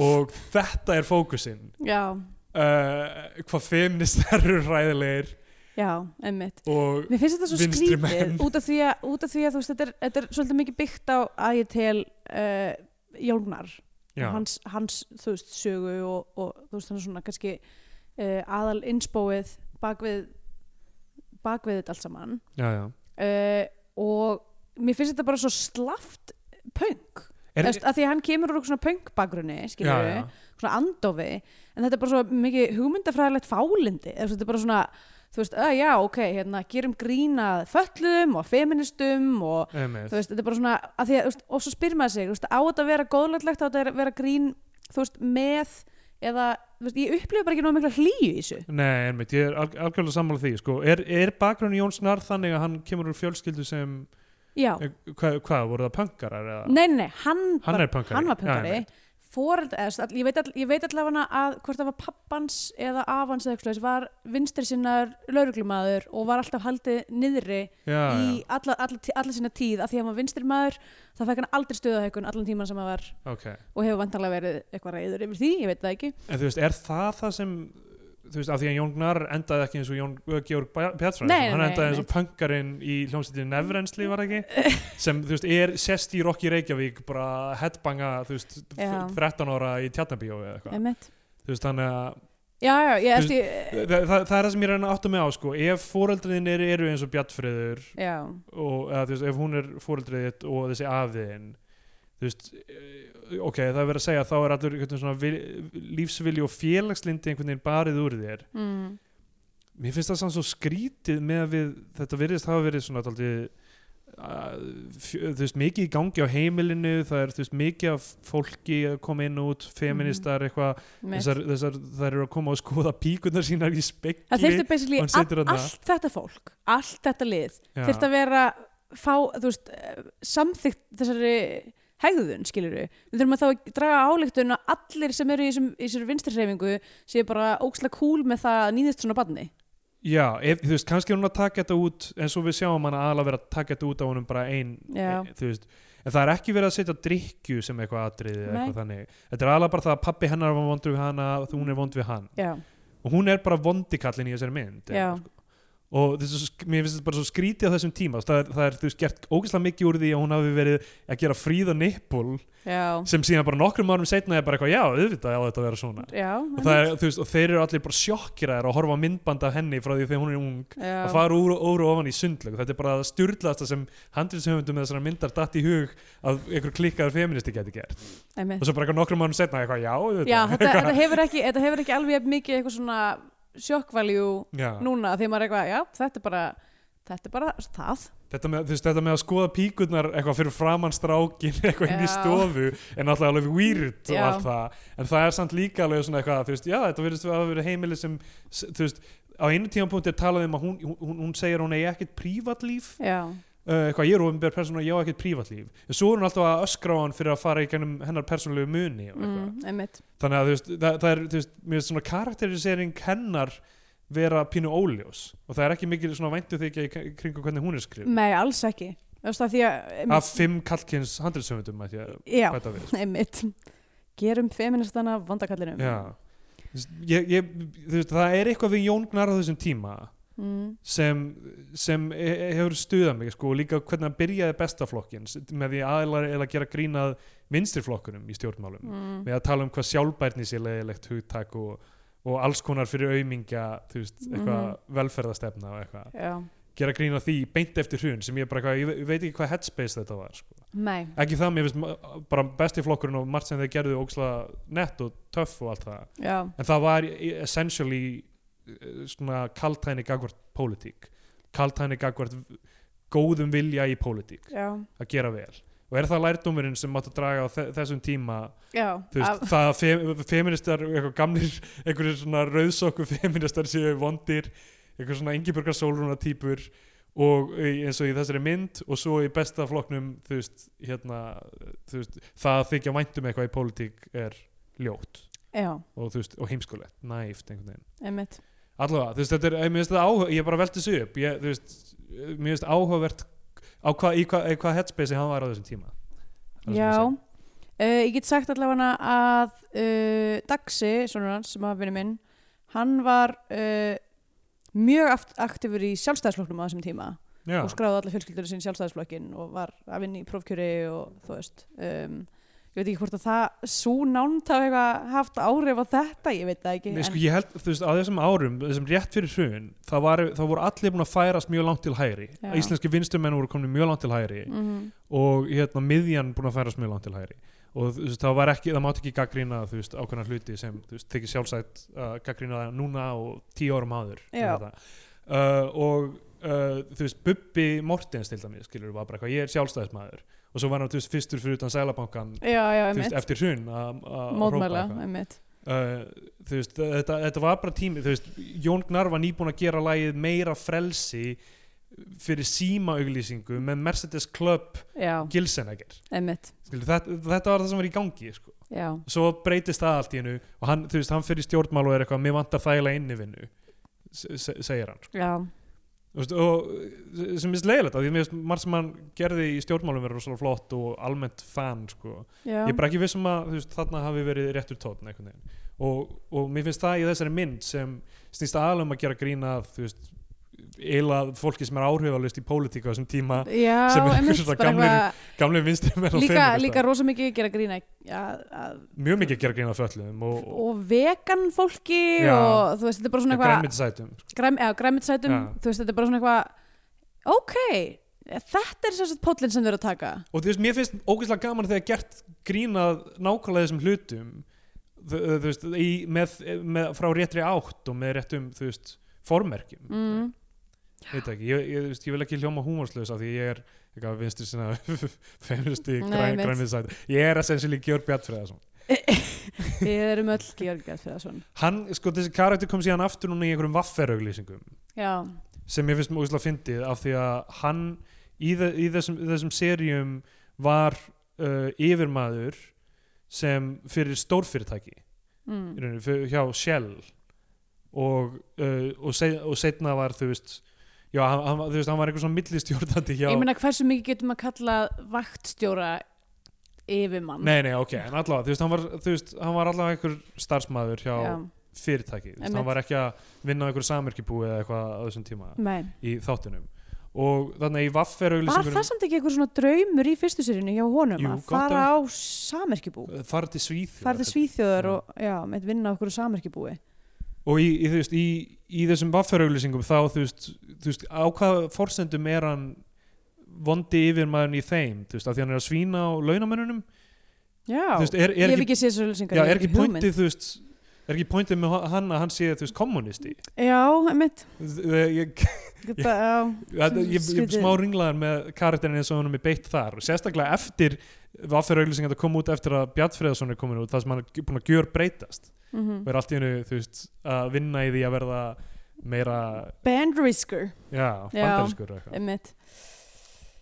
og þetta er fókusinn
já.
uh, hvað feministar eru ræðilegir
Já, einmitt.
og
Mér finnst þetta svo
Vinstri menn.
skrítið út af því að, út af því að þú veist, þetta er, þetta er svolítið mikið byggt á að ég tel uh, Jónar,
já,
hans, hans þú veist, sögu og, og þú veist, hann er svona kannski uh, aðal innspóið bakvið bakvið þetta allt saman
já, já.
uh, og mér finnst þetta bara svo slaft punk,
Er,
þú veist, af því að hann kemur úr einhverjum svona punk bakgrunni,
já,
skilur
já.
svona andofi en þetta er bara svo mikið hugmyndafræðilegt fálindi eða þetta er bara svona þú veist, að já, ok, hérna, gerum grínað föllum og feministum og
Einmitt.
þú veist, þetta er bara svona að því að, þú veist, og svo spyr maður sig, þú veist, á þetta að vera góðlætlegt á þetta að vera grín, þú veist, með eða, þú veist, ég upplifa bara ekki nóg mikla hlýju í þessu
Nei, einmitt, ég er alg algjörlega sammála því sko. er, er bakgrunni Jóns Nár þannig að hann kemur úr fjölskyldu sem
já,
eh, hvað, hvað voru það pankarar? Eða?
nei, nei, hann,
Hann
bara-
er punkari.
hann var
Já,
punkari
einmitt.
Fóreld, eða, þú veist, all- ég, veit all, ég veit allavega að hvort það var pappans eða afans eða eitthvað svoleiðis, var vinstri sinnar lauruglumaður og var alltaf haldið niðri
já,
í alla, alla, tí- alla sína tíð að því að hann var vinstri maður þá fekk hann aldrei stöðahækun allan tíman sem hann var
já, ok
og hefur vantarlega verið eitthvað reyður yfir því, ég veit það ekki
En þú veist, er það það sem þú veist, af því að Jón Gnar endaði ekki eins og Jón uh, Georg Pjartsson,
Nei, nei,
hann
nei,
endaði eins og
einmitt.
punkarinn í hljómsveitinni Nevrensli var það ekki, sem þú veist, er sest í Rocky Reykjavík, bara headbanga, þú veist,
Já.
13 ára í Tjarnabíó eða eitthvað,
Einmitt.
þú veist, þannig að
já, já, ég
Þú
eftir
það, það, það er það sem ég reyna að átta mig á, sko, ef foreldriðin er, eru eins og Bjartfriður
já,
og, eða, þú veist, ef hún er foreldrið þitt og þessi afiðin þú veist, eh, ok, það er verið að segja að þá er allur einhvern veginn svona vil, lífsvilji og félagslindi einhvern veginn barið úr þér
mm,
mér finnst það samt svo skrítið með að við þetta virðist hafa verið svona daldið þú veist, mikið í gangi á heimilinu það er, þú veist, mikið af fólki að koma inn og út, feministar eitthvað,
Mhm. einmitt.
þessar, þessar, þær eru að koma og skoða píkunar sínar í
það
spekli
þurfti basically
hann situr
all,
þarna.
allt þetta fólk allt þetta lið,
Já.
þurfti að vera fá, þú veist, eh, samþykkt þessari hegðun, skilur við við þurfum að þá að draga áleiktun að allir sem eru í þessum- í þessari vinstri hreyfingu séu bara ókslega cool með það að nýðist svona badni
Já, ef, þú veist, kannski er hún að taka þetta út eins og við sjáum hann aðalega vera að taka þetta út á honum bara ein,
Já.
e, þú veist en það er ekki verið að setja drikju sem eitthvað atriði eða
Nei.
eitthvað þannig, þetta er aðalega bara það að pappi hennar var vondur við hana og þú- hún er vond við hann
já,
og hún er bara vondikallin í þessari mynd eða
já,
eitthvað, sko. og þessu, sk- mér finnst þetta bara svo skrítið á þessum tíma, það er, það er þú veist, gert ógeðslega mikið úr því að hún hafi verið að gera fríð og nippul
já
sem síðan bara nokkrum árum setna er bara eitthvað, já, auðvitað á þetta að vera svona
Já,
og, það er, þú veist, og þeir eru allir bara sjokkiraðir að horfa á myndband af henni frá því þegar hún er ung
já,
að fara úr og óru ofan í sundlög þetta er bara það styrlaðasta sem handriðshöfundum með þessara myndar datt í hug að einhver klikkaður feministi geti gert
einmitt.
og svo bara eitthvað nokkrum mánum setna eitthvað já, auðvitað.
Mm. já þetta, þetta, hefur ekki, þetta hefur ekki alveg jafn mikið eitthvað svona sjokkvaljú
já.
núna þegar maður er eitthvað, já, þetta er bara þetta er bara það
Þetta, með, þú veist, þetta með að skoða píkurnar eitthvað fyrir framann strákin eitthvað inn í
Já.
stofu er náttúrulega alveg weird og
Já.
allt það en það er samt líka alveg svona eitthvað þú veist, já, þetta verðist að hafa verið heimili sem s- þú veist, á einu tímanpunkt er talað um að hún, hún, hún segir að hún eigi ekkert prívatlíf
já,
uh, eitthvað ég er ofinbér persónu og ég á ekkert prívatlíf en svo er hún alltaf að öskra á hann fyrir að fara í gennum hennar persónulegu muni og eitthvað
mm, einmitt
þannig að þú veist, það, það er þú veist, mér er svona karakterisering hennar vera pínu óljós og það er ekki mikil svona væntu þykja í k- kringum hvernig hún er skrif
nei, alls ekki þú veist að því að
af fimm kallkins handriðsöfundum mætti ég að
já,
bæta við sko.
einmitt gerum feministana vandakallinum
já Þú veist, ég, ég, þú veist, það er eitthvað við Jón Gnar á þessum tíma
mm,
sem, sem he- hefur stuðað mig sko, og líka hvernig hann byrjaði bestaflokkin með því aðlar eða að gera grínað vinstriflokkunum í stjórnmálum
mm,
með að tala um hvað sjálfbærni sé leiðilegt hugtak og, og alls konar fyrir aumingja, þú veist, eitthvað velferðastefna og eitthvað,
já,
gera grín að því beint eftir hrun sem ég bara, eitthvað, ég ve- ég veit ekki hvað headspace þetta var, sko.
nei
ekki það mér finnst ma- bara besti flokkurinn og margt sem þeir gerðu óksla nett og töff og allt það
já,
en það var i- essentially eh, svona kaltæni gagvart pólitík, kaltæni gagvart góðum vilja í pólitík
já,
að gera vel og er það lærdómurinn sem mátt að draga á þe- þessum tíma
já
þú veist,
af,
það að fe feministar eitthvað gamlir, einhverjir svona rauðsokku feministar séu vondir eitthvað svona yngibjörgar sólrúna típur og í- eins og í þessari mynd og svo í besta flokknum þú veist, hérna, þú veist, það að þykja væntum eitthvað í pólitík er ljótt
já,
og, þú veist, og heimskulegt, næft einhvern veginn
einmitt
allavega, þú veist, þetta er, eh, mér finnst þetta áhuga ég bara velti þessu upp, ég, þú veist eh, mér finnst áhugavert á hvað, í hvað, í hvað headspace hann var á þessum tíma Það er það sem ég
Já,
segi.
uh, ég get sagt allavega að uh, Daxi, svona hans sem var vinnu minn, hann var uh, mjög aft- aktífur í sjálfstæðisflokknum á þessum tíma
Já.
og skráði alla fjölskyldur sín sjálfstæðisflokkin og var að vinna í prófkjöri og þú veist um, ég veit ekki hvort að það svo nánt hafa eitthvað haft áhrif á þetta, ég veit það ekki
Nei, sko,
en,
ég held, þú veist, á þessum árum, þessum rétt fyrir hrun, það, var, það voru allir búin að færast mjög langt til hægri.
Já.
Íslenski vinstumenn voru komin mjög langt til hægri
Mhm,
og hérna, miðjan búin að færast mjög langt til hægri. Og þú veist, það var ekki, það mátt ekki gaggrína, þú veist, ákveðna hluti sem, þú veist, þykir sjálfsætt að gaggrína það núna og tíu árum áður. um
Já.
Þetta. Uh, og, uh, þú veist, Bubbi Mortens til dæmis, skilur, var bara eitthvað, ég er sjálfstæðismæður. Og svo var hann, þú veist, fyrstur fyrir utan Sælabankan,
Já, já,
þú veist,
einmitt,
eftir hrun að að hrópa
mótmæla
eitthvað.
einmitt,
Uh, þú veist, þetta, þetta var bara tími þú veist, Jón Gnar var nýbúin að gera lagið meira frelsi fyrir símaauglýsingu með Mercedes Club
já,
Gilsenegger
einmitt
Skilur, þetta, þetta var það sem var í gangi sko.
já,
svo breytist það allt í hennu og hann, þú veist, hann fyrir stjórnmál og er eitthvað mér vantar þægilega innivinnu se- se- segir hann sko.
já,
Þú veist, og sem er leiðilegt af því mér finnst margt sem hann gerði í stjórnmálum verið rosalega flott og almennt fan sko
já
ég er bara ekki vissum að þú veist, þarna hafi verið réttur tótn einhvern veginn og, og mér finnst það í þessari mynd sem snýst aðalum að gera grína að, þú veist, eila fólki sem er áhrifalust í pólitík á þessum tíma
Já,
sem er
einmitt,
svona
bara
gamlir-
eitthvað-
gamlega vinstri með
líka, líka rosa mikið gera grína og,
mjög mikið að gera grína föllum og, og,
og vegan fólki
Já.
og þú veist, þetta er bara svona
og
eitthvað
grænmyndisætum
græm, eða græmitsætum,
Já.
þú veist, þetta er bara svona eitthvað ok, þetta er sérstætt pótlinn sem þau eru að taka
og þú veist, mér finnst ógeðslega gaman þegar gert grínað nákvæmlega þessum hlutum þú, eh, þú veist, í, með, með, frá réttri átt og með réttum, þú veist, formerkjum
mm.
veit ekki, ég, ég, þú veist, ég vil ekki hljóma húmorslaus af því ég er eitthvað vinstri sinna feministi
Nei,
græn,
einmitt.
grænmiðsæt ég er essentially Georg Bjartfræðarsson
við erum öll Georg Gæðsfriðarsson
hann, sko þessi karakter kom síðan aftur núna í einhverjum vafferauglýsingum
já,
sem ég finnst mjög úrslega fyndið af því að hann í, þe í þessum, þessum seríum var uh, yfirmaður sem fyrir stórfyrirtæki í
mm.
rauninni, fyr- hjá Shell og, uh, og, se og setna var þú veist Já, hann, hann, var- þú veist, hann var einhver svona millistjórnandi hjá...
ég meina hversu mikið getum að kalla vaktstjóra yfirmann
Nei, nei, ok, en allavega, þú veist, hann var, þú veist, hann var allavega einhver starfsmæður hjá
já,
fyrirtæki, þú veist,
Einmitt.
hann var ekki að vinna á einhverju samverkibúi eða eitthvað á þessum tíma
nei
í þáttunum og þannig að í
Var það
vafferauglýsingunum
samt ekki eitthvað svona draumur í fyrstu sérinu hjá honum
um- Jú,
að
gott
fara á samerkibú?
fara til Svíþjóð
Það er það svíþjóðar
Já.
og já, með vinna okkur á samerkibúi
og í, í, þú veist, í, í þessum vafferauglýsingum þá, þú veist, þú veist á hvaða forsendum er hann vondi yfir maðurinn í þeim þú veist, af því hann er að svína á launamönnunum
Já,
þú veist, er,
ég
er
hef
ekki,
ekki séð þessu lýsingar
já, er ekki pointið, þú veist er ekki pointið með hann að hann sé, þú veist, kommunisti
Já, einmitt
Þú veist, ég,
Þetta, já,
Þetta, ég, ég
Skrítið.
smá ringlaðar með karakterin eins og honum er beitt þar og sérstaklega eftir vafferauglýsing að koma út eftir að Bjartfreðarsson er komin út það sem hann er búin að gjör breytast
mhm,
og er allt í hennu veist, að vinna í því að verða meira,
Bandrisker,
já,
Já.
bandarískur eða eitthvað
einmitt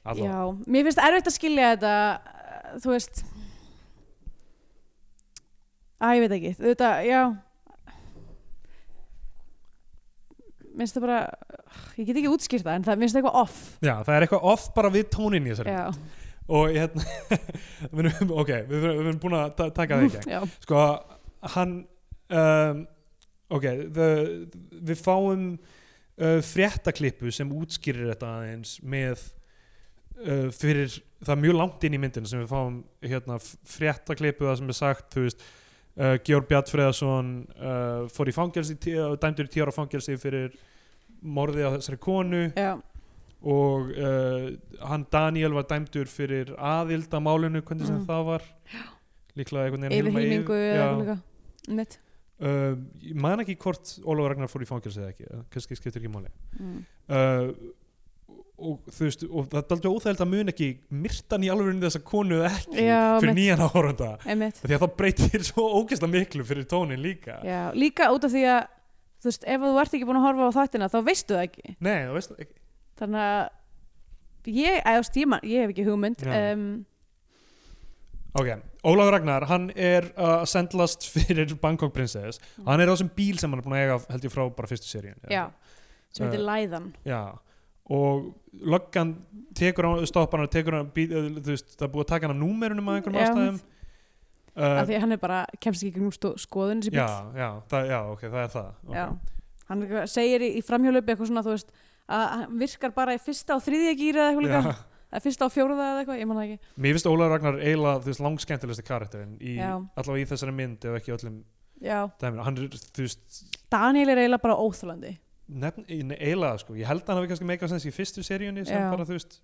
Alla,
Já, mér finnst erfitt að skilja þetta uh, þú veist Æ, ég veit ekki þetta, já minnst það bara ég get ekki útskýrt það en það minnst eitthvað off
já, það er eitthvað off bara við tónin í þessari
já,
og hérna við erum- ok, við erum við erum búin að ta- taka það í gegn
já,
sko, hann um, ok, the, við fáum uh, fréttaklippu sem útskýrir þetta aðeins með uh, fyrir, það er mjög langt inn í myndinu sem við fáum hérna f- fréttaklippu það sem er sagt, þú veist uh, Georg Bjartfreðarsson uh, fór í fangelsi, tí- dæmdur í tíu ára fangelsi fyrir morðið á þessari konu
já,
og uh, hann Daniel var dæmdur fyrir aðild að málinu, hvernig sem
Mm.
það var líklega einhvern veginn Hilma
yfirhýmingu
yfir-
eða
Já.
eitthvað líka. mitt
uh, ég man ekki hvort Ólafur Ragnar fór í fangelsi eða ekki, eh, kannski skiptir ekki máli
mm.
uh, og þú veist og það er aldrei óþægild að mun ekki myrtan í alveg þessa konu eða ekki
Já,
fyrir
mitt.
nýjan áhorunda
einmitt
því að það breytir svo ógeðslega miklu fyrir tónin líka
já, líka út af því að þú veist, ef þú ert ekki búin að horfa á þáttina þá veistu það ekki
nei, þú veist ekki
þannig að ég, eða, stíma, ég hef ekki hugmynd
Já.
um,
Ok, Ólafur Ragnar, hann er uh, sendlast fyrir Bangkok Princess hann er á þessum bíl sem hann er búin að eiga held ég frá bara fyrstu seríun
Mm. já, sem heitir
Uh,
Læðan
Já, og löggan tekur hann, stoppar hann og tekur hann bí, eh, þú veist, það er búið að taka hann af númerunum að einhverjum
Já,
ástæðum
af
uh,
því að hann er bara, kemst ekki um skoðun sem
já, já, það, já, ok, það er það okay.
já. hann er eitthvað- segir í, í framhjólaupi eitthvað svona, þú veist, að hann virkar bara í fyrsta og þriðja gýra eða eitthvað líka eða fyrsta og fjórða eða eitthvað, ég manna ekki
Mér finnst Ólafur Ragnar eiginlega þú veist, langskemmtilegsti karakterin í,
Já.
allavega í þessari mynd ef ekki öllum
já.
dæminu hann er, þú veist,
Daniel er eiginlega bara óþólandi
nefn, nei, eiginlega sko, ég held að hann hafi kannski meikað sens í fyrstu seríunni sem
Já.
bara, þú veist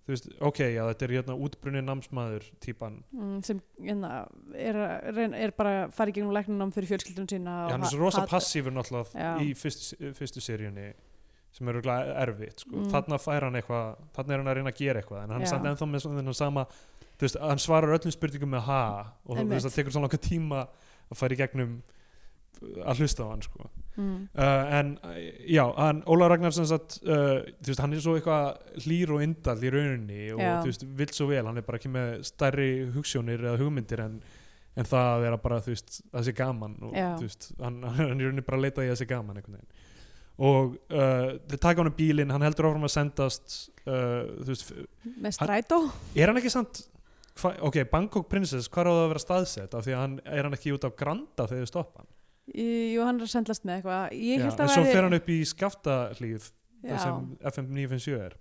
þú veist, ok, já, þetta er hérna útbrunni námsmaður típan,
mm, sem hérna, er, að reyn- er bara að fara í gegnum læknunum fyrir fjölskyldun sína og
já, hann er
ha-
svo rosa
hat-
passífur náttúrulega
Já.
í fyrstu, fyrstu seríunni sem er örugglega erfitt sko.
Mm.
þarna fær hann eitthvað, þarna er hann að reyna að gera eitthvað en hann er
Já.
samt ennþá með svona þennan sama þú veist, hann svarar öllum spurningum með ha og þú
Einmitt.
veist, það tekur svona langa tíma að færa í gegnum að hlusta á hann sko.
mm,
uh, en eh, já, hann, Óla Ragnar sem sagt, uh, þú veist, hann er svo eitthvað hlýr og indall í rauninni og
Já.
þú veist, vill svo vel, hann er bara ekki með stærri hugssjónir eða hugmyndir en, en það að vera bara, þú veist, að sé gaman og
Já.
þú veist, hann, hann er í rauninni bara að leita í að sé gaman einhvern veginn og uh, þau taka hann um bílinn, hann heldur áfram að sendast uh, þú veist,
með strætó
er hann ekki samt hva, ok, Bangkok Princess, hvað er það að vera staðsett af því að hann, er hann ekki út á Granda þegar þau stoppa hann,
Í- jú, hann er að sendlast með eitthvað ég
Já,
held að
en svo
væri-
fer hann upp í skaftahlíð
Já.
það sem FM 957 er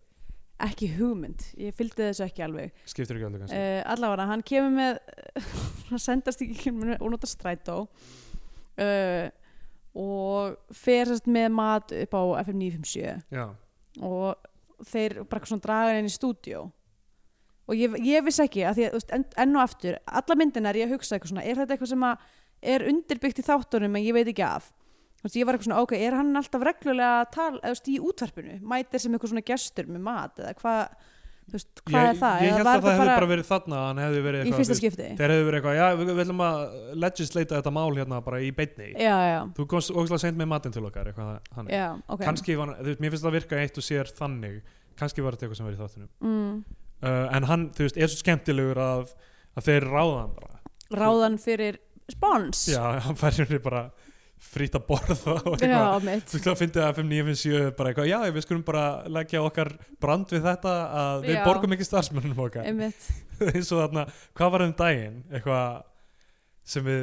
ekki hugmynd, ég fylgdi þessu ekki alveg
skiptir ekki alveg kannski
uh, allavega hann kemur með hann sendast ekki kemur með ónóta strætó uh, og fer sérst með mat upp á FM 957
já,
og þeir bara svona draga hann inn í stúdíó og ég, ég vissi ekki að því að þú veist, enn, enn og aftur, alla myndina er ég að hugsa eitthvað svona, er þetta eitthvað sem að er undirbyggt í þáttunum en ég veit ekki af þú veist, ég var eitthvað svona, ok, er hann alltaf reglulega að tala, eða þú veist, í útvarpinu mætir sem eitthvað svona gestur með mat eða hvað, þú veist, hvað
ég,
er það
ég
Eða
held
var
að það
þetta
hefði bara, verið þarna að hann hefði verið
í
eitthvað
fyrsta
þú veist,
skipti
þeir hefði verið eitthvað, já við, við ætlum að legislata þetta mál hérna bara í beinni
já, já,
þú komst ógæslega seint með matinn til okkar eitthvað hann
já, ok
kannski var, hann- þú veist, mér finnst það virka eitt og sér þannig kannski var þetta eitthvað sem verið í þáttunum
mm,
uh, en hann, þú veist, er svo skemmtilegur að, að þeir ráða hann bara
ráðan fyrir spons
já, hann fær henni bara frýtt að borða og eitthvað
já mitt
Þú finnst að FM 957 bara eitthvað, já við skulum bara leggja okkar brand við þetta að við
Já.
borgum ekki starfsmönnum okkar
einmitt,
eins og þarna, hvað var um daginn eitthvað sem við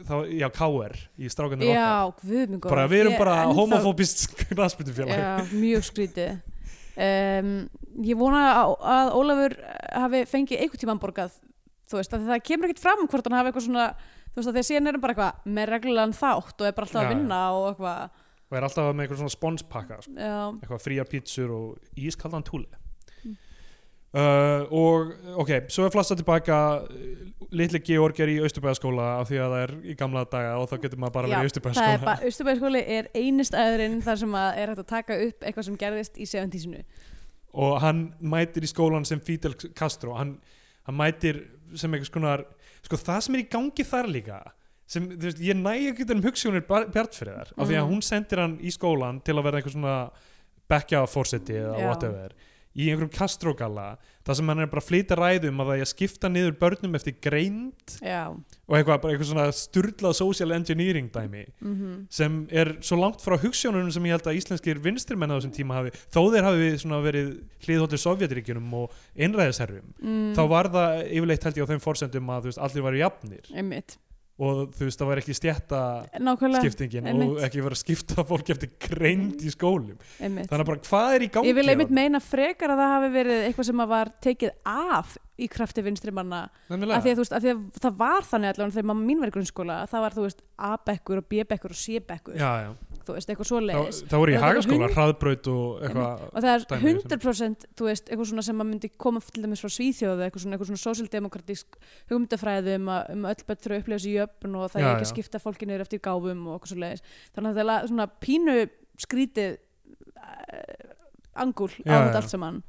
þá, já, KR í strákanum
já, guðmengur
okkar bara við erum bara homofóbist knastbytufélag
Já, mjög skrítið um, Ég vona að, að Ólafur hafi fengið einhvern tímann borgað þú veist, að það kemur ekkert fram hvort hann hafi eitthvað svona þú veist, að þegar síðan erum bara eitthvað með reglulegan þátt og er bara
Já,
alltaf að
já.
vinna og eitthvað
og er alltaf með einhver svona sponspakka sko.
já,
eitthvað fríar pítsur og ískaldan túli
Mm.
Uh, og ok, svo er flasta tilbaka uh, litli Georg er í austurbæðaskóla af því að það er í gamla daga og þá getur maður bara
já,
verið í
það er
austurbæðaskóla
bara, Östurbæðskóli er einist aðurinn þar sem að er hægt að taka upp eitthvað sem gerðist í 70-sinu
og hann mætir í skólan sem Fidel Castro hann, hann mætir sem eitthvað skonar sko það sem er í gangi þar líka sem, þú veist, ég næ ekki um hugsunir Bjartfriðar, af því að
Mm.
hún sendir hann í skólan til að verða einhver svona bekkja fórseti eða
Já.
whatever í einhverjum kastrógalla, þar sem hann er bara að flyta ræðum að það er að skipta niður börnum eftir greind
já,
og eitthvað, bara eitthvað svona sturlað social engineering dæmi
mhm
sem er svo langt frá hugssjónunum sem ég held að íslenskir vinstrimenn á þessum tíma hafi þó þeir hafi svona verið hliðhóttir Sovjetríkjunum og einræðisherrum
mm,
þá var það yfirleitt held ég á þeim forsendum að þú veist, allir varu jafnir
einmitt,
og þú veist, það var ekki stjætta
nákvæmlega
skiptingin
einmitt.
og ekki verið að skipta fólk eftir greind í skólum
einmitt.
þannig að bara hvað er í gangi
ég vil einmitt
þarna?
meina frekar að það hafi verið eitthvað sem að var tekið af í krafti vinstri manna af því
Nefnilega.
að, þú veist, af því að það var þannig allavega þegar mamma mín var í grunnskóla það var þú veist A-bekkur og B-bekkur og C-bekkur
já, já.
þú veist, eitthvað svo
Þá,
leiðis
þá voru í
Og það var
hagaskóla,
hund-
hraðbraut og eitthvað
og það er
dæmi sem-
100% þú veist, eitthvað svona sem að myndi koma til dæmis frá Svíþjóðu, eitthvað svona, eitthvað svona sósildemokratísk hugmyndafræði um að um að öll bætt þurfa að upplifa sér jöfn og það
Já,
er ekki
já.
að skipta fólki niður eftir gáfum og eitthvað svo leiðis þannig að það er la- svona pínu skrítið uh, angul
Já,
á
já.
þetta allt saman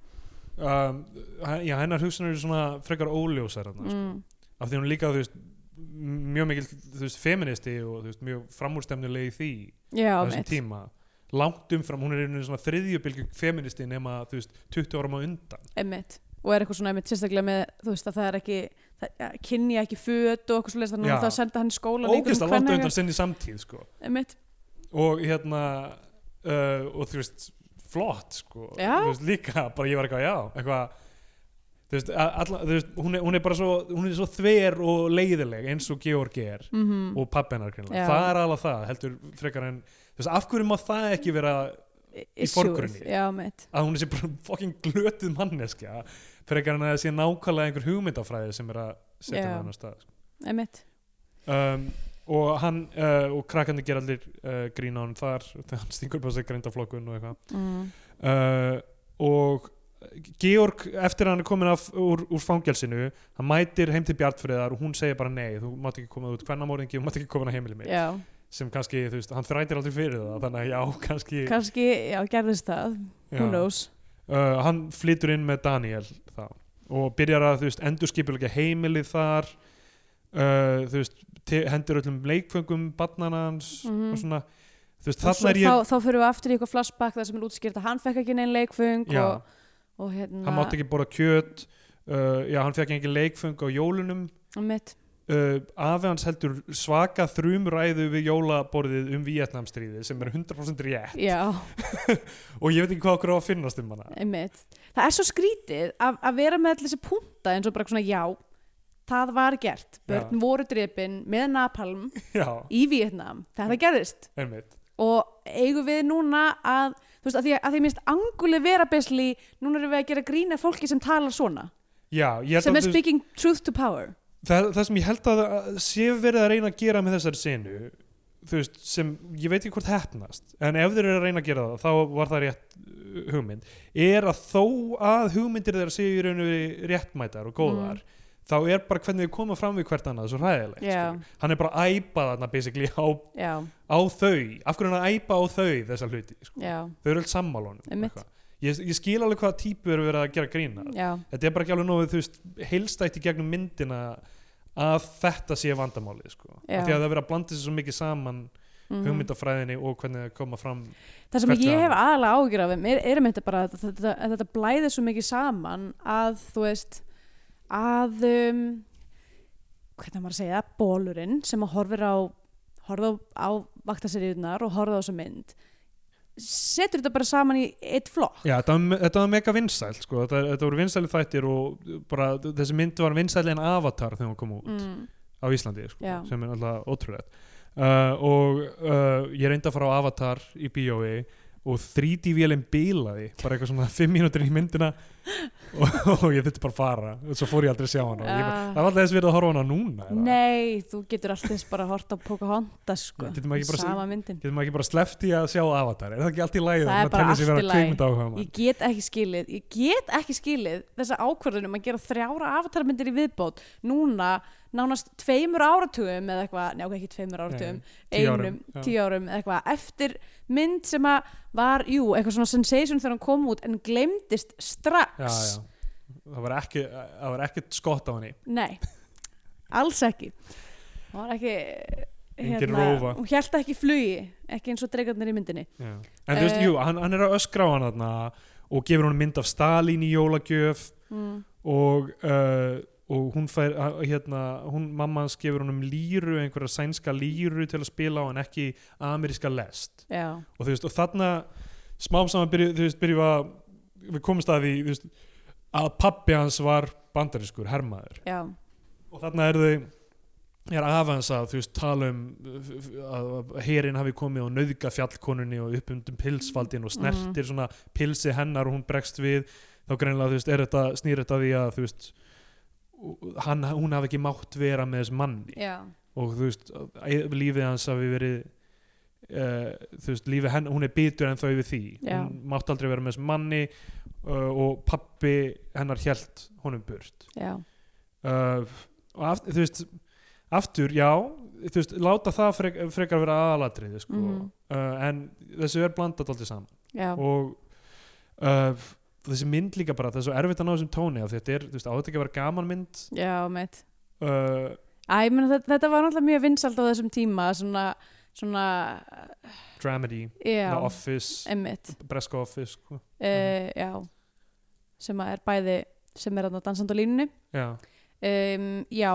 um, hæ- já, hennar hugsunar eru svona frekar óljósar þarna, sko.
mm,
af því hún líka þú veist m- mjög mikil þú veist feministi og þú veist mjög framúrstemnulegi í því
já,
á þessum
mitt,
tíma langt umfram, hún er einu svona þriðjubilgu feministi nema þú veist 20 árum á undan
einmitt og er eitthvað svona einmitt sérstaklega með þú veist að það er ekki, það, ja, kynja ekki föt og eitthvað svo leiðis þannig
Já.
að það senda hann í skólan í einhverjum
ógist að langt á
kvennaga-
undan sinni samtíð sko.
einmitt,
og hérna uh, og þú veist flott sko.
Já.
Þú veist, líka, bara ég var eitthvað já eitthvað Þú veist, a- alla, þú veist, hún, er, hún er bara svo, hún er svo þver og leiðileg eins og Georg er
mm
og pappinar greinlega,
Já.
það er alveg það heldur frekar en, þú veist, af hverju má það ekki vera í forgrunni.
já, mitt,
að hún sé bara fucking glötuð manneskja frekar en að það sé nákvæmlega einhver hugmyndafræði sem er að setja
Já.
yeah. hann á stað sko.
einmitt
um, og hann uh, og krakkandi ger allir uh, grín á hann þar þegar hann stingur bara sér greindaflokkun og eitthvað
mm.
uh, og Georg eftir að hann er komin af, úr, úr fangelsinu hann mætir heim til Bjartfriðar og hún segir bara nei, þú mátt ekki komað út hvernamóringi og mátt ekki komað að heimili mitt
já,
sem kannski, þú veist, hann þrætir aldrei fyrir það þannig að já, kannski
kannski, já, gerðist það
já.
who knows
uh, hann flytur inn með Daniel þá og byrjar að þú veist endurskipulega heimilið þar uh, þú veist te- hendur öllum leikföngum barnana hans
Mhm.
og svona þú veist
svo,
þarna er ég
þá, þá fyrir við aftur í eitthvað flashback þar sem er útskýrt að hann fekk ekki neinn leikfung
já,
og, og hérna
hann mátti ekki borða kjöt uh, já hann fekk engin leikföng á jólunum
mitt,
uh, afi hans heldur svaka þrumræðu við jólaborðið um Vietnamstríði sem er 100% rétt
já,
og ég veit ekki hvað okkur á að finnast um hana
einmitt það er svo skrítið að, að vera með allir þessi punta eins og bara svona já það var gert, börn voru drepin með napalm
já,
í Vietnam þetta gerðist
einmitt
og eigum við núna að þú veist, að því að, að því minnst anguli vera besli núna erum við að gera grína fólki sem talar svona
já, ég held
sem
að
er
þú-
speaking truth to power
það, það sem ég held að að sé verið að reyna að gera með þessari senu þú veist, sem ég veit ekki hvort hefnast en ef þeir eru að reyna að gera það þá var það rétt uh, hugmynd er að þó að hugmyndir þeirra séu í raun og veru réttmætar og góðar þá er bara hvernig þau koma fram við hvert annað svo ræðilegt
Mm. Já.
skilur. hann er bara að æpa þarna basically á,
já,
á þau af hverju er hann að æpa á þau þessa hluti sko.
já,
þau eru alls sammálunum
Einmitt.
ég, ég skil alveg hvaða típu eru verið að gera grína
já,
þetta er bara ekki alveg nógu þú veist, heilstætt í gegnum myndina að þetta sé vandamálið sko.
Já.
Af því að það er verið að blanda sér svo mikið saman
mhm.
hugmyndafræðinni og hvernig það koma fram
það sem
hvert
ég
er
hef aðalega ágjur af þeim er, er með þetta bara að þetta, að þetta blæðir svo mikið saman að þú veist að um, hvernig á maður að segja, það, bólurinn sem að horfir á horfir á, á vaktaseríunar og horfir á þessa mynd setur þetta bara saman í eitt flokk
Já, þetta, var- þetta var mega vinsæl sko. þetta, þetta voru vinsæli þættir og bara þessi mynd var vinsæli en avatar þegar hún kom út
mm,
á Íslandi sko,
Já.
sem er alltaf ótrúlegt uh, og uh, ég reyndi að fara á avatar í bíói og 3D-vélum bílaði bara eitthvað svona 5 mínútur í myndina og, og ég þurfti bara að fara og svo fór ég aldrei að sjá hana uh. ég, bara,
Ah.
það var alltaf þess verið að horfa á hana núna er það?
Nei, þú getur alltaf eins bara að horta á Pocahontas sko,
Nei, getur maður ekki bara-
sama myndin
getur maður ekki bara sleppt í að sjá avatar er það ekki allt í
Það
læð
er bara allt í lagi.
lagi
Ég get ekki skilið, ég get ekki skilið þessa ákvörðunum að gera þrjára avatarmyndir í viðbót núna nánast tveimur áratugum eða eitthvað, njá ekki tveimur áratugum,
tíu árum,
einum,
já.
tíu árum eða eitthvað, eftir mynd sem að var, jú, eitthvað svona sensation þegar hún kom út en glemdist
já,
strax.
já. það var ekki það var ekkert skott á henni
Nei, alls ekki. hún var ekki hérna,
Engin rófa.
hún held ekki í flugi ekki eins og dreikarnir í myndinni
Já. En þú veist,
Eh,
jú, hann, hann er að öskra á hann þarna og gefur hún mynd af Stalin í jólagjöf
mm.
og, uh, og hún fær, að- hérna, hún, mamma hans gefur hún um líru, einhverja sænska líru til að spila á en ekki ameríska lest.
já,
Og þú veist, og þarna smám saman byrju, þú veist, byrju að, við komumst að því, þú veist, að pappi hans var bandarískur, hermaður
já,
og þarna er þau er afans að þú veist tala um uh, að að herinn hafi komið og nöðga fjallkonunni og uppundum pilsfaldin og
Mhm.
snertir svona pilsi hennar og hún bregst við þá greinlega þú veist er þetta snýr þetta að því að þú veist hann, hún hafi ekki mátt vera með þess manni
já,
og þú veist að- lífið hans hafi verið uh, þú veist lífið henn hún er bitur en þau við því
Já.
hún mátt aldrei vera með þess manni uh, og pappi hennar hjælt honum burt
já
uh, og aft, þú veist aftur, já, þú veist láta það frek, frekar vera aðalatriði sko.
Mhm.
uh, en þessu er blandat alltaf saman
já,
og uh, þessi mynd líka bara, það er svo erfitt að ná þessum tóni af því þetta er, þú veist, á þetta ekki að vera gaman mynd
já, mitt
uh,
Æ, meni, þetta, þetta var náttúrulega mjög vinsalt á þessum tíma svona, svona
dramedy,
já,
The Office
emmitt
Breska Office sko.
uh, já, sem að er bæði sem er þarna dansand á línunni
já,
um, já,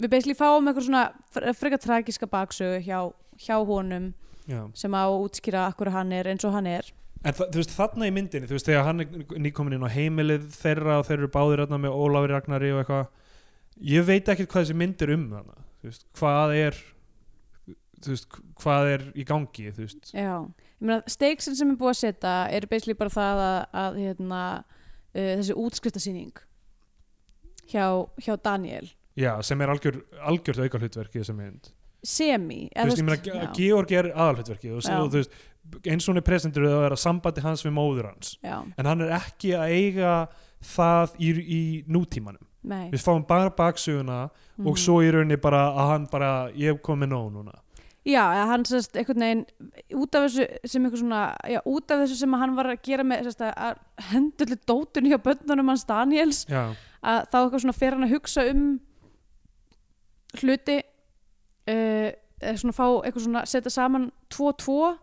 við basically fáum eitthvað svona fre- frekar tragiska baksögu hjá, hjá honum
já
sem á að útskýra akkur hann er eins og hann er
En þa- þú veist, þarna í myndinni, þú veist, þegar hann er nýkomin inn á heimilið þeirra og þeir eru báðir þarna með Ólafur Ragnari og eitthvað ég veit ekkert hvað þessi mynd er um þarna þú veist, hvað er þú veist, hvað er í gangi þú veist,
já, ég meina steiksin sem er búið að setja er basically bara það að, að hérna, uh, þessi útskriftasýning hjá, hjá Daniel
já, sem er algjör, algjört auka hlutverk í þessi mynd
semi
þú veist, ég meina, Ge- Georg er aðalhlutverkið og,
Já.
og þú veist, eins og hún er presentur það er að sambandi hans við móður hans
já,
en hann er ekki að eiga það í, í nútímanum
nei
við fáum bara baksuguna og
Mhm.
svo í rauninni bara að hann bara, ég hef komið nóg núna
Já, eða hann sérst einhvern veginn út af þessu sem eitthvað svona já, út af þessu sem hann var að gera með sérst, að hendurli dótun hjá bönnunum hans Daniels
Já,
að þá eitthvað svona fer hann að hugsa um hluti uh, eða svona fá eitthvað svona setja saman 2-2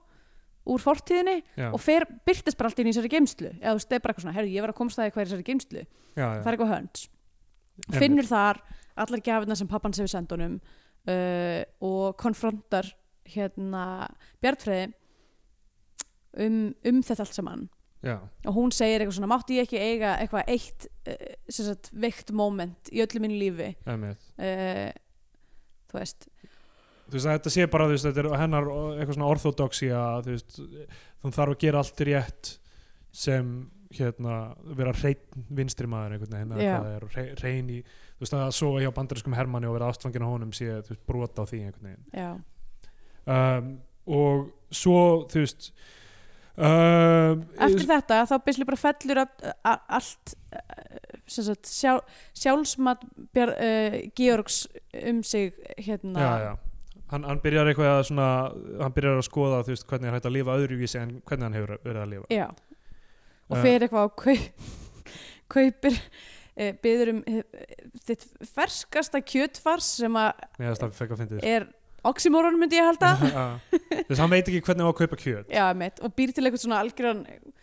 úr fortíðinni
já,
og fer byrtist bara allt inn í þessari geimslu eða þú veist, það er bara eitthvað svona, herru, ég var að komst það í hvað er í þessari geimslu
já, já.
það er eitthvað hönds
Einmitt.
finnur þar allar gjafirna sem pappan hefur senda honum uh, og konfrontar hérna Bjartfreði um, um þetta allt saman
já,
og hún segir eitthvað svona, mátti ég ekki eiga eitthvað eitt uh, sem sagt veikt moment í öllu mínu lífi
einmitt.
uh, þú veist
þú veist að þetta sé bara þú veist, þetta er hennar eitthvað svona orthodoxi að þú veist, þú þarf að gera allt rétt sem hérna vera hreinn vinstri maður einhvern veginn eða
Já.
hvað það er, og hre- hrein í þú veist að að sofa hjá bandariskum hermanni og vera ástfangin á honum sé þú veist, brota á því einhvern veginn
já,
um, og svo þú veist um,
eftir þetta þá byrjuslega bara fellur að, að, allt eh, sem sagt, sjá, sjálfsmat Bjar, uh, Georgs um sig hérna
já, já. Hann, hann byrjar eitthvað að svona, hann byrjar að skoða þú veist, hvernig hann hægt að lifa öðruvísi en hvernig hann hefur verið að lifa
Já. og
Eh.
fer eitthvað á kaup, kaupir e, byður um eh, þitt ferskasta kjötfars sem að
Mér finnst það fekk að fyndið sko.
er oxymoron myndi ég halda
þess að hann veit ekki hvernig á að kaupa kjöt
Já, meitt, og býr til eitthvað svona algjöran mig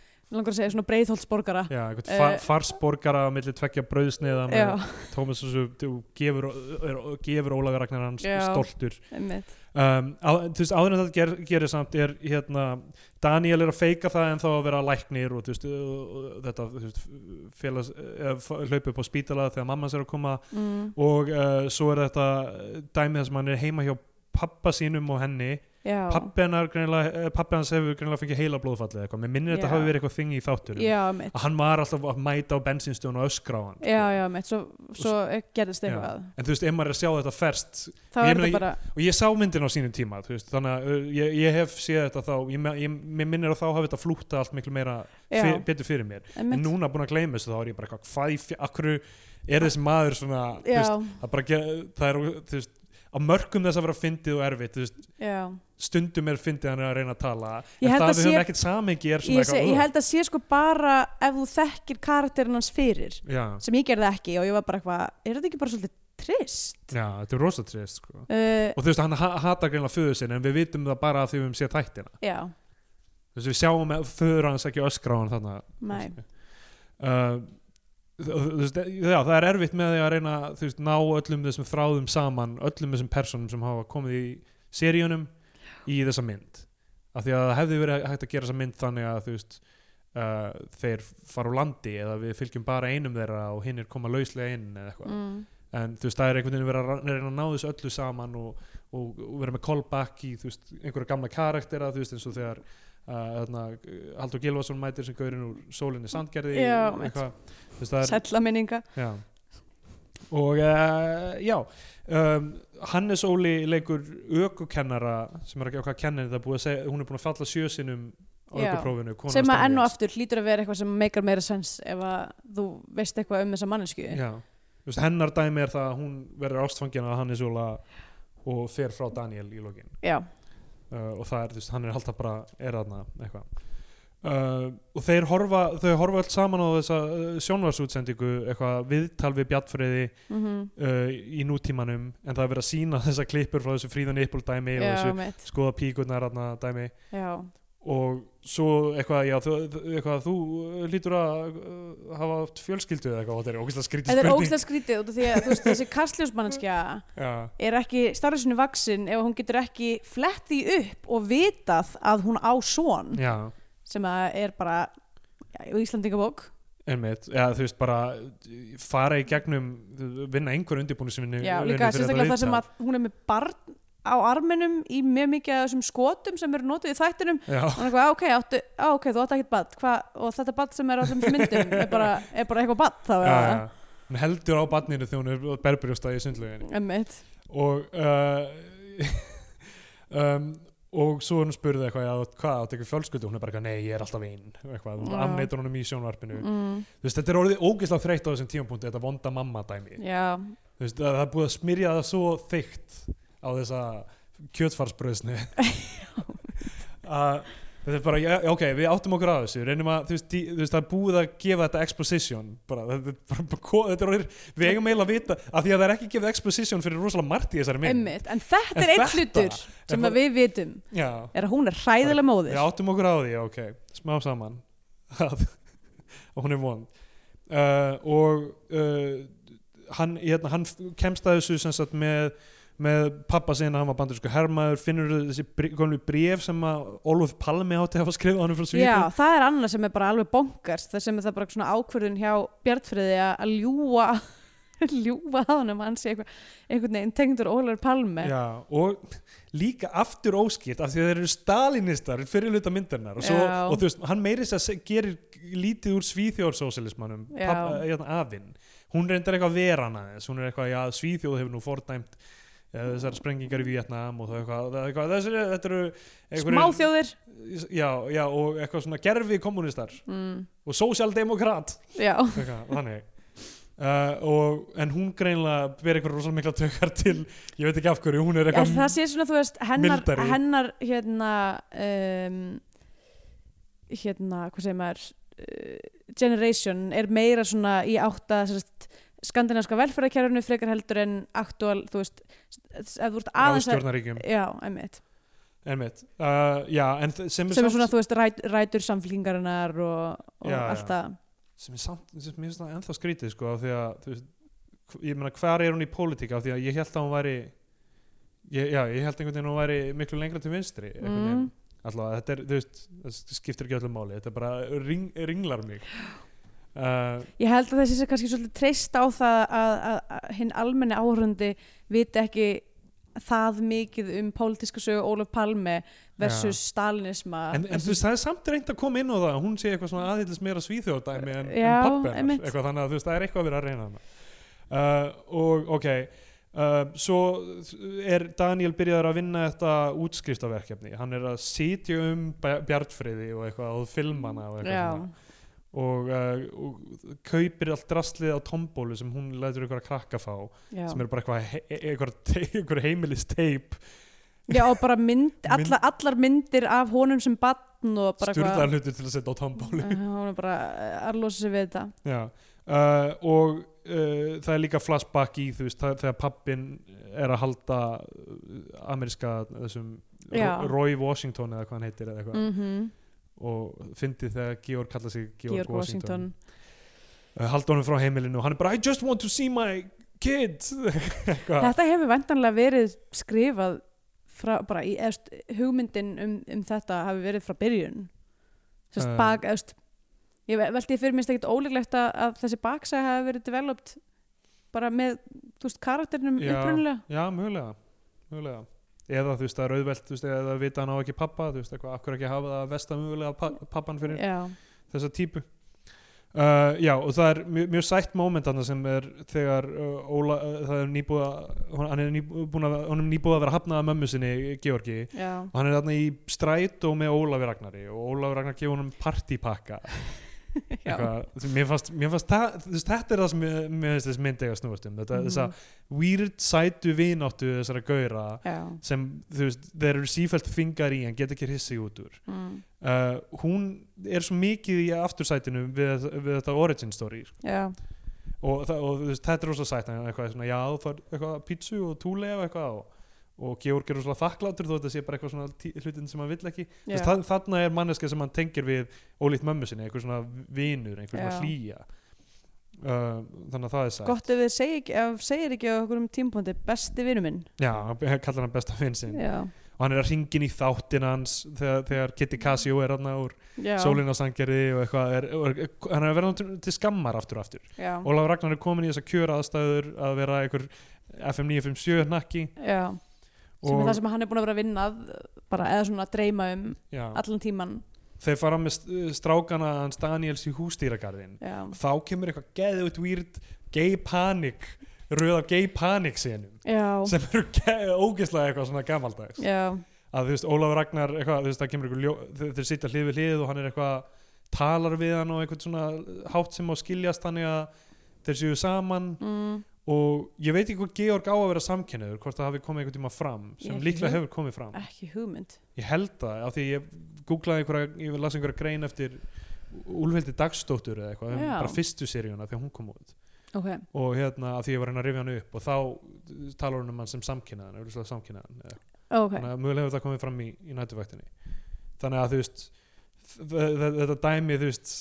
langar að segja svona breiðholtsborgara
já, einhvern fa
Eh.
farsborgara á milli tvekja brauðsneiða
Já,
með Tómas og svo þú gefur, er, gefur Ólafur Ragnar hans
Já.
stoltur
meitt
um, á, þú veist, áður en þetta ger, gerir samt er hérna, Daniel er að feika það en þá að vera læknir og þú veist, og- og þetta þú veist, félags, eða f- hlaupa upp á spítala þegar mamma hans er að koma
mm,
og uh, svo er þetta dæmið þess að hann er heima hjá pappa sínum og henni
Já,
pappi, hennar, greinilega- eh, pappi hans hefur greinilega fengið heila blóðfallið eitthvað, mér minnir
Já.
þetta hafi verið eitthvað þing í þáttunum
já, meitt
að hann var alltaf að mæta á bensinstöðun og öskra á hann sko.
Já, já, meitt, svo, svo gerðist
Já.
eitthvað
en þú veist, ef maður er að sjá þetta ferst Ég
Þá er
meina,
þetta bara,
og ég sá myndin á sínum tíma þú veist, þannig að uh, ég, ég hef séð þetta þá ég, me- ég, mér minnir að þá hafi þetta flúta allt miklu meira
Já.
fyr, betur fyrir mér en
meitt
núna búin að gleyma þessu þá er ég bara eitthvað hvað í fj- af hverju er þessi maður svona þú
Já,
veist, það, bara, ge- það er þú veist, á mörgum þess að vera fyndið og erfitt þú veist,
já
stundum er fyndið hann er að reyna að tala
Ég
en
held
það
að
við höfum
sé-
ekkert samingi er
Ég,
svona
sé, ég held að sé sko bara ef þú þekkir karakterinn hans fyrir
"Ugh." já,
sem ég gerði ekki og ég var bara eitthvað, er þetta ekki bara svolítið trist
já, þetta er rosa trist sko.
uh,
og þú veist, hann ha- hatar greinlega föður sinni en við vitum það bara af því við höfum séð þættina
já,
þú veist, við sjáum að föður hans ekki öskra á hann þarna
nei
uh, þú þú veist, já, það er erfitt með því að reyna þú veist, ná öllum þessum þráðum saman öllum þessum personum sem hafa komið í seríunum í þessa mynd af því að það hefði verið hægt að gera þessa mynd þannig að þú veist Uh, þeir fara úr landi eða við fylgjum bara einum þeirra og hinn er koma lauslega inn eða eitthvað
mm.
en þú veist það er einhvern veginn verið að ra- reyna að ná þessu öllu saman og, og, og vera með callback í þú veist einhverja gamla karaktera þú veist eins og þegar uh, þarna, uh, Haldur Gilvason mætir sem gaurinn úr sólinni sandgerði
Já, mitt.
eitthvað, þú veist það er
sætla minninga
já. og uh, já um, Hannes Óli leikur ökukennara sem er ekki á hvað kennin það er búið að segja, hún er búin að falla sjösinum á
Já.
ökuprófinu konan
sem að
Steingríms.
enn og aftur hlýtur að vera eitthvað sem meikar meira sens ef að þú veist eitthvað um þessa mannesku
Já, þú veist, hennar dæmi er það að hún verður ástfangin að Hannes Óla og fer frá Daniel í lokin
já,
uh, og það er, þú veist, hann er alltaf bara er þarna eitthvað uh, og þeir horfa, þau horfa allt saman á þessa uh, sjónvarsútsendingu eitthvað viðtal við Bjartfriði
mhm,
uh, í nútímanum en það er verið að sína þessa klippur frá þessu fríðan yppul dæmi og
já,
þessu
mitt
skoða píkurnar þarna dæmi
já,
og svo eitthvað, já, þú, eitthvað, þú uh, lítur að uh, hafa haft fjölskyldu eða eitthvað og þetta er ógæslega skrítið
Þetta er
spurning
ógstæð skrítið út af því að þú veist, þessi kastljósmannskja
já,
er ekki starfsinu vaksin ef hún getur ekki flett því upp og vitað að hún á son
já,
sem að er bara já, Íslandingabók
einmitt, já, þú veist bara uh, fara í gegnum, uh, vinna einhver undirbúnisvinni
já, líka sérstaklega það sem að hún er með barn á arminum í mjög mikið af þessum skotum sem eru notuð í þættinum
já,
og hann er eitthvað, "Á, ok, áttu, á, ok, þú átt ekkert bad hva, og þetta bad sem er á þessum myndum er bara, er bara eitthvað bad þá
já, já. hún heldur á barninu þegar hún er berberjóstað í sundlöginni
Emmitt,
og uh, um, og svo er hún spurði eitthvað, já, hvað, áttu eitthvað fjölskyldu hún er bara eitthvað, nei, ég er alltaf einn eitthvað, hún
Já.
afneitar honum í sjónvarpinu
mm,
þú veist, þetta er orðið ógeðslega þreytt á þessum tímapunkti þetta vonda mamma dæmi
já,
þú veist, það það er búið að smyrja það svo þykkt á þessa kjötfarsbröðsni að þetta er bara, já, já, ok, við áttum okkur að þessu reynum að, þú veist, dí- þú veist, það er búið að gefa þetta exposition, bara, þetta er bara, bara ko- þetta er orðið, við eigum eiginlega að vita af því að það er ekki gefið exposition fyrir rosalega margt í þessari mynd
emmitt en þetta
En
er einn
þetta
hlutur sem
bara-
að við vitum
já,
er að hún er hræðilega móðir
við áttum okkur á því, ok, smá saman að að hún er vond uh, og uh, hann, hérna, hann f- kemst að þessu sem sagt með með pappa sinna, hann var bandurísku hermaður finnur þessi br- gömlu bréf sem að Ólf Palmi átti að hafa skrifað honum frá Svíþjóð
Já, það er annað sem er bara alveg bongast þar sem er það bara svona ákvörðun hjá Bjartfriði að að ljúga ljúga að honum að hann sé eitthvað einhvern veginn tengdur Ólar Palme
Já, og líka aftur óskýrt af því að þeir eru stalinistar fyrir hluta myndarinnar og, svo,
Já.
og þú veist, hann meiri þess að se- gerir lítið úr svíþjóðsósialismannum
Já.
afinn, hérna, hún reyndar eitthvað veran aðeins, hún er eitthvað, já, svíþjóð hefur nú fordæmt eh, þessar sprengingar í Vietnam og það er eitthvað, það er eitthvað þessir, þetta eru einhverjir-
Smáþjóðir
já, já, og eitthvað svona gerfi kommunistar
mm,
og sósjaldemokrat
Já,
eitthvað, þannig Uh, og, en hún greinlega ber eitthvað rosalega mikla tökar til ég veit ekki af hverju, hún er
Já,
eitthvað
það sé svona, þú veist, hennar,
mildari.
hennar hérna um, hérna, hvað segir maður uh, generation er meira svona í átta sérst, skandinavska velferðarkerfinu frekar heldur en aktuál, þú veist ef þú ert aðeins að
ráðstjórnaríkjum
Já, einmitt
einmitt, uh, já, en þ- sem er,
sem er
samt,
svona, þú veist, ræt, rætur samfélkingarinnar og, og
Já, já.
allt það
sem er samt, sem mér finnst það ennþá skrítið sko, af því að, þú veist, hv- ég meina hvar er hún í pólitík, af því að ég held að hún væri ég, já, ég held einhvern veginn að hún væri miklu lengra til vinstri einhvern
Mm.
veginn. allavega, þetta er, þú veist, það skiptir ekki öllum máli, þetta bara ring, ringlar mig uh,
ég held að þessi sé kannski svolítið treyst á það að, að, að hinn almenni áhörundi viti ekki það mikið um pólitíska sögu Ólaf Palme versus stalinisma
en, en þú veist, það er samt reynd að koma inn á það að hún sé eitthvað svona aðhyllist meira svíþjóðdæmi en, en
Já,
pappi hennar,
einmitt.
eitthvað þannig að þú veist, það er eitthvað að vera að reyna hana uh, og ok uh, svo er Daniel byrjaður að vinna þetta útskriftaverkefni hann er að sitja um bjartfriði og eitthvað og filmana og eitthvað
já,
svona. og, uh, og kaupir allt drastlið á tombólu sem hún lætur eitthvað að krakka fá
já.
sem er bara eitthvað, he e-, eitthvað, eitthvað heimilisteip
já, og bara mynd,
Mynd-
alla, allar myndir af honum sem batn og bara
styrlaðan hlutur til að setja á tombólu
hún er bara að losa eh, sig við þetta
Já, uh, og uh, það er líka flashback í þú veist það, þegar pappin er að halda uh, ameríska þessum
Já.
Ro- Roy Washington eða hvað hann heitir eða eitthvað
mm
og fyndið þegar Georg kalla sig Georg,
Georg Washington
Uh, halda honum frá heimilinu og hann er bara I just want to see my kid eitthvað
Þetta hefur vendanlega verið skrifað frá, bara í, eðst, hugmyndin um, um þetta hafi verið frá byrjun þess
Eh.
að bak, eðst ég ve- velti fyrir minnst ekkert óleglegt að, að þessi baksæð hafi verið developed bara með, þú veist, karakterinum
Já.
upprunalega
já, mögulega, mögulega eða þú veist það er auðvelt, þú veist, eða það vita hann á ekki pappa þú veist, eitthvað, af hverju ekki hafa það að vesta mögulega pa- pappan fyrir
Já,
þessa típu uh, já og það er mjög, mjög sætt moment hann sem er þegar uh, Óla, uh, það er nýbúið að- hann er nýbúið að, honum nýbúið að vera hafnað af mömmu sinni, Georgi
já,
og hann er þarna í strætó með Ólafi Ragnari og Ólafi Ragnar gefur honum partípakka
já.
Eitthvað, þú- mér fannst, mér fannst það, þú veist, þetta er það sem mér mér finnst þessi mynd eiga að snúast um þetta,
Mhm.
þessa weird sætu vináttu þessara gauðra
já.
sem þú veist, þeir eru sífælt fingar í en get ekki hissi út úr
Mm.
uh, hún er svo mikið í aftursætinu við, við þetta origin story sko.
já.
og, það, og þú veist, þetta er rosa sætt hann er eitthvað svona, já þú fær eitthvað pítsu og túlega og eitthvað og, og Georg er rosa þakklátur þó þetta sé bara eitthvað svona tí- hlutin sem hann vill ekki
já.
Þess, þann, þarna er manneska sem hann tengir við ólíkt mömmu sinni, einhver svona vinur einhver svona
Já.
hlýja uh, þannig að það er sætt
gott ef þið segir ekki, ef segir ekki á okkur um tímpóndi besti vinur minn
já, hann kallar hann besta vin sinn
já,
og hann er að ringin í þáttin hans þegar, þegar Kitty Casio er hann úr
já,
sólinn á sangerði og eitthvað er, og er, hann er að vera til, til skammar aftur og aftur
já,
Ólaf Ragnar er komin í þessa kjöra aðstæður að vera einhver FM 957 nakki
já. sem er
og
það sem hann er búin að vera að vinna að, bara eða svona að dreyma um
já,
allan tíman
þeir fara með st- strákana hans Daniels í hústýragarðin
já,
þá kemur eitthvað geðut weird gay panic röð af gay panic senum
já,
sem eru ge- ógeðslega eitthvað svona gamaldags
já,
að þú veist Ólafur Ragnar eitthvað, þú veist það kemur eitthvað ljó, þau- þeir sitja hlið við hlið og hann er eitthvað talar við hann og eitthvað svona hátt sem má skiljast þannig að þeir séu saman
mm,
og ég veit ekki hvað Georg á að vera samkynniður hvort það hafi komið einhvern tíma fram sem
Ég
líklega
held-
hefur komið fram
ekki hugmynd
ég held það af því ég googlaði einhverja ég las einhverja grein eftir Úlfhildi Dagsdóttur eða eitthvað um
Já.
bara fyrstu seríuna þegar hún kom út
ok,
og hérna af því ég var að reyna að rifja hann upp og þá talar hann um hann sem samkynnaðan auðvitað samkynnaðan eða
ok,
þannig að mögulega hefur það komið fram í, í nætuvæktinni þannig að þú veist þ- þ- þetta dæmi þú veist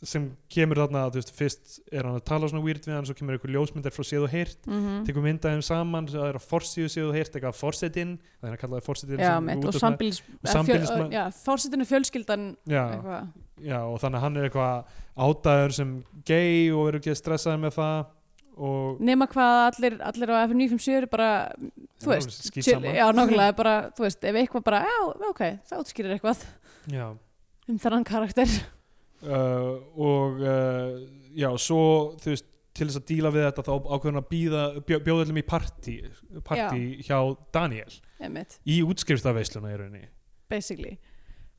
sem kemur þarna þú veist, fyrst er hann að tala svona weird við hann svo kemur einhver ljósmyndar frá séð og heyrt
mhm
tekur myndaðum saman, það er að forsíðu séð og heyrt eitthvað forsetinn, það er að kalla það forsetinn
Já,
sem
mitt,
út
og
af svona-
sambílis
sambýlisma-
Já, fórsetinu fjölskyldan
já,
eitthvað.
já, og þannig að hann er eitthvað átaður sem gay og verður ekki stressaður með það og
Nema hvað allir, allir á F957 eru bara, þú
Já,
veist
skýt
chill-
saman.
Já, nákvæmlega, bara, þú veist, ef eitthvað bara Já, ok, það útskýrir eitthvað
já,
um þennan karakter
uh, og uh, já, svo þú veist til þess að díla við þetta þá ákveðin að býða bjó- bjóða allum í partí partí hjá Daniel
Einmitt,
í útskriftaveisluna í rauninni
basically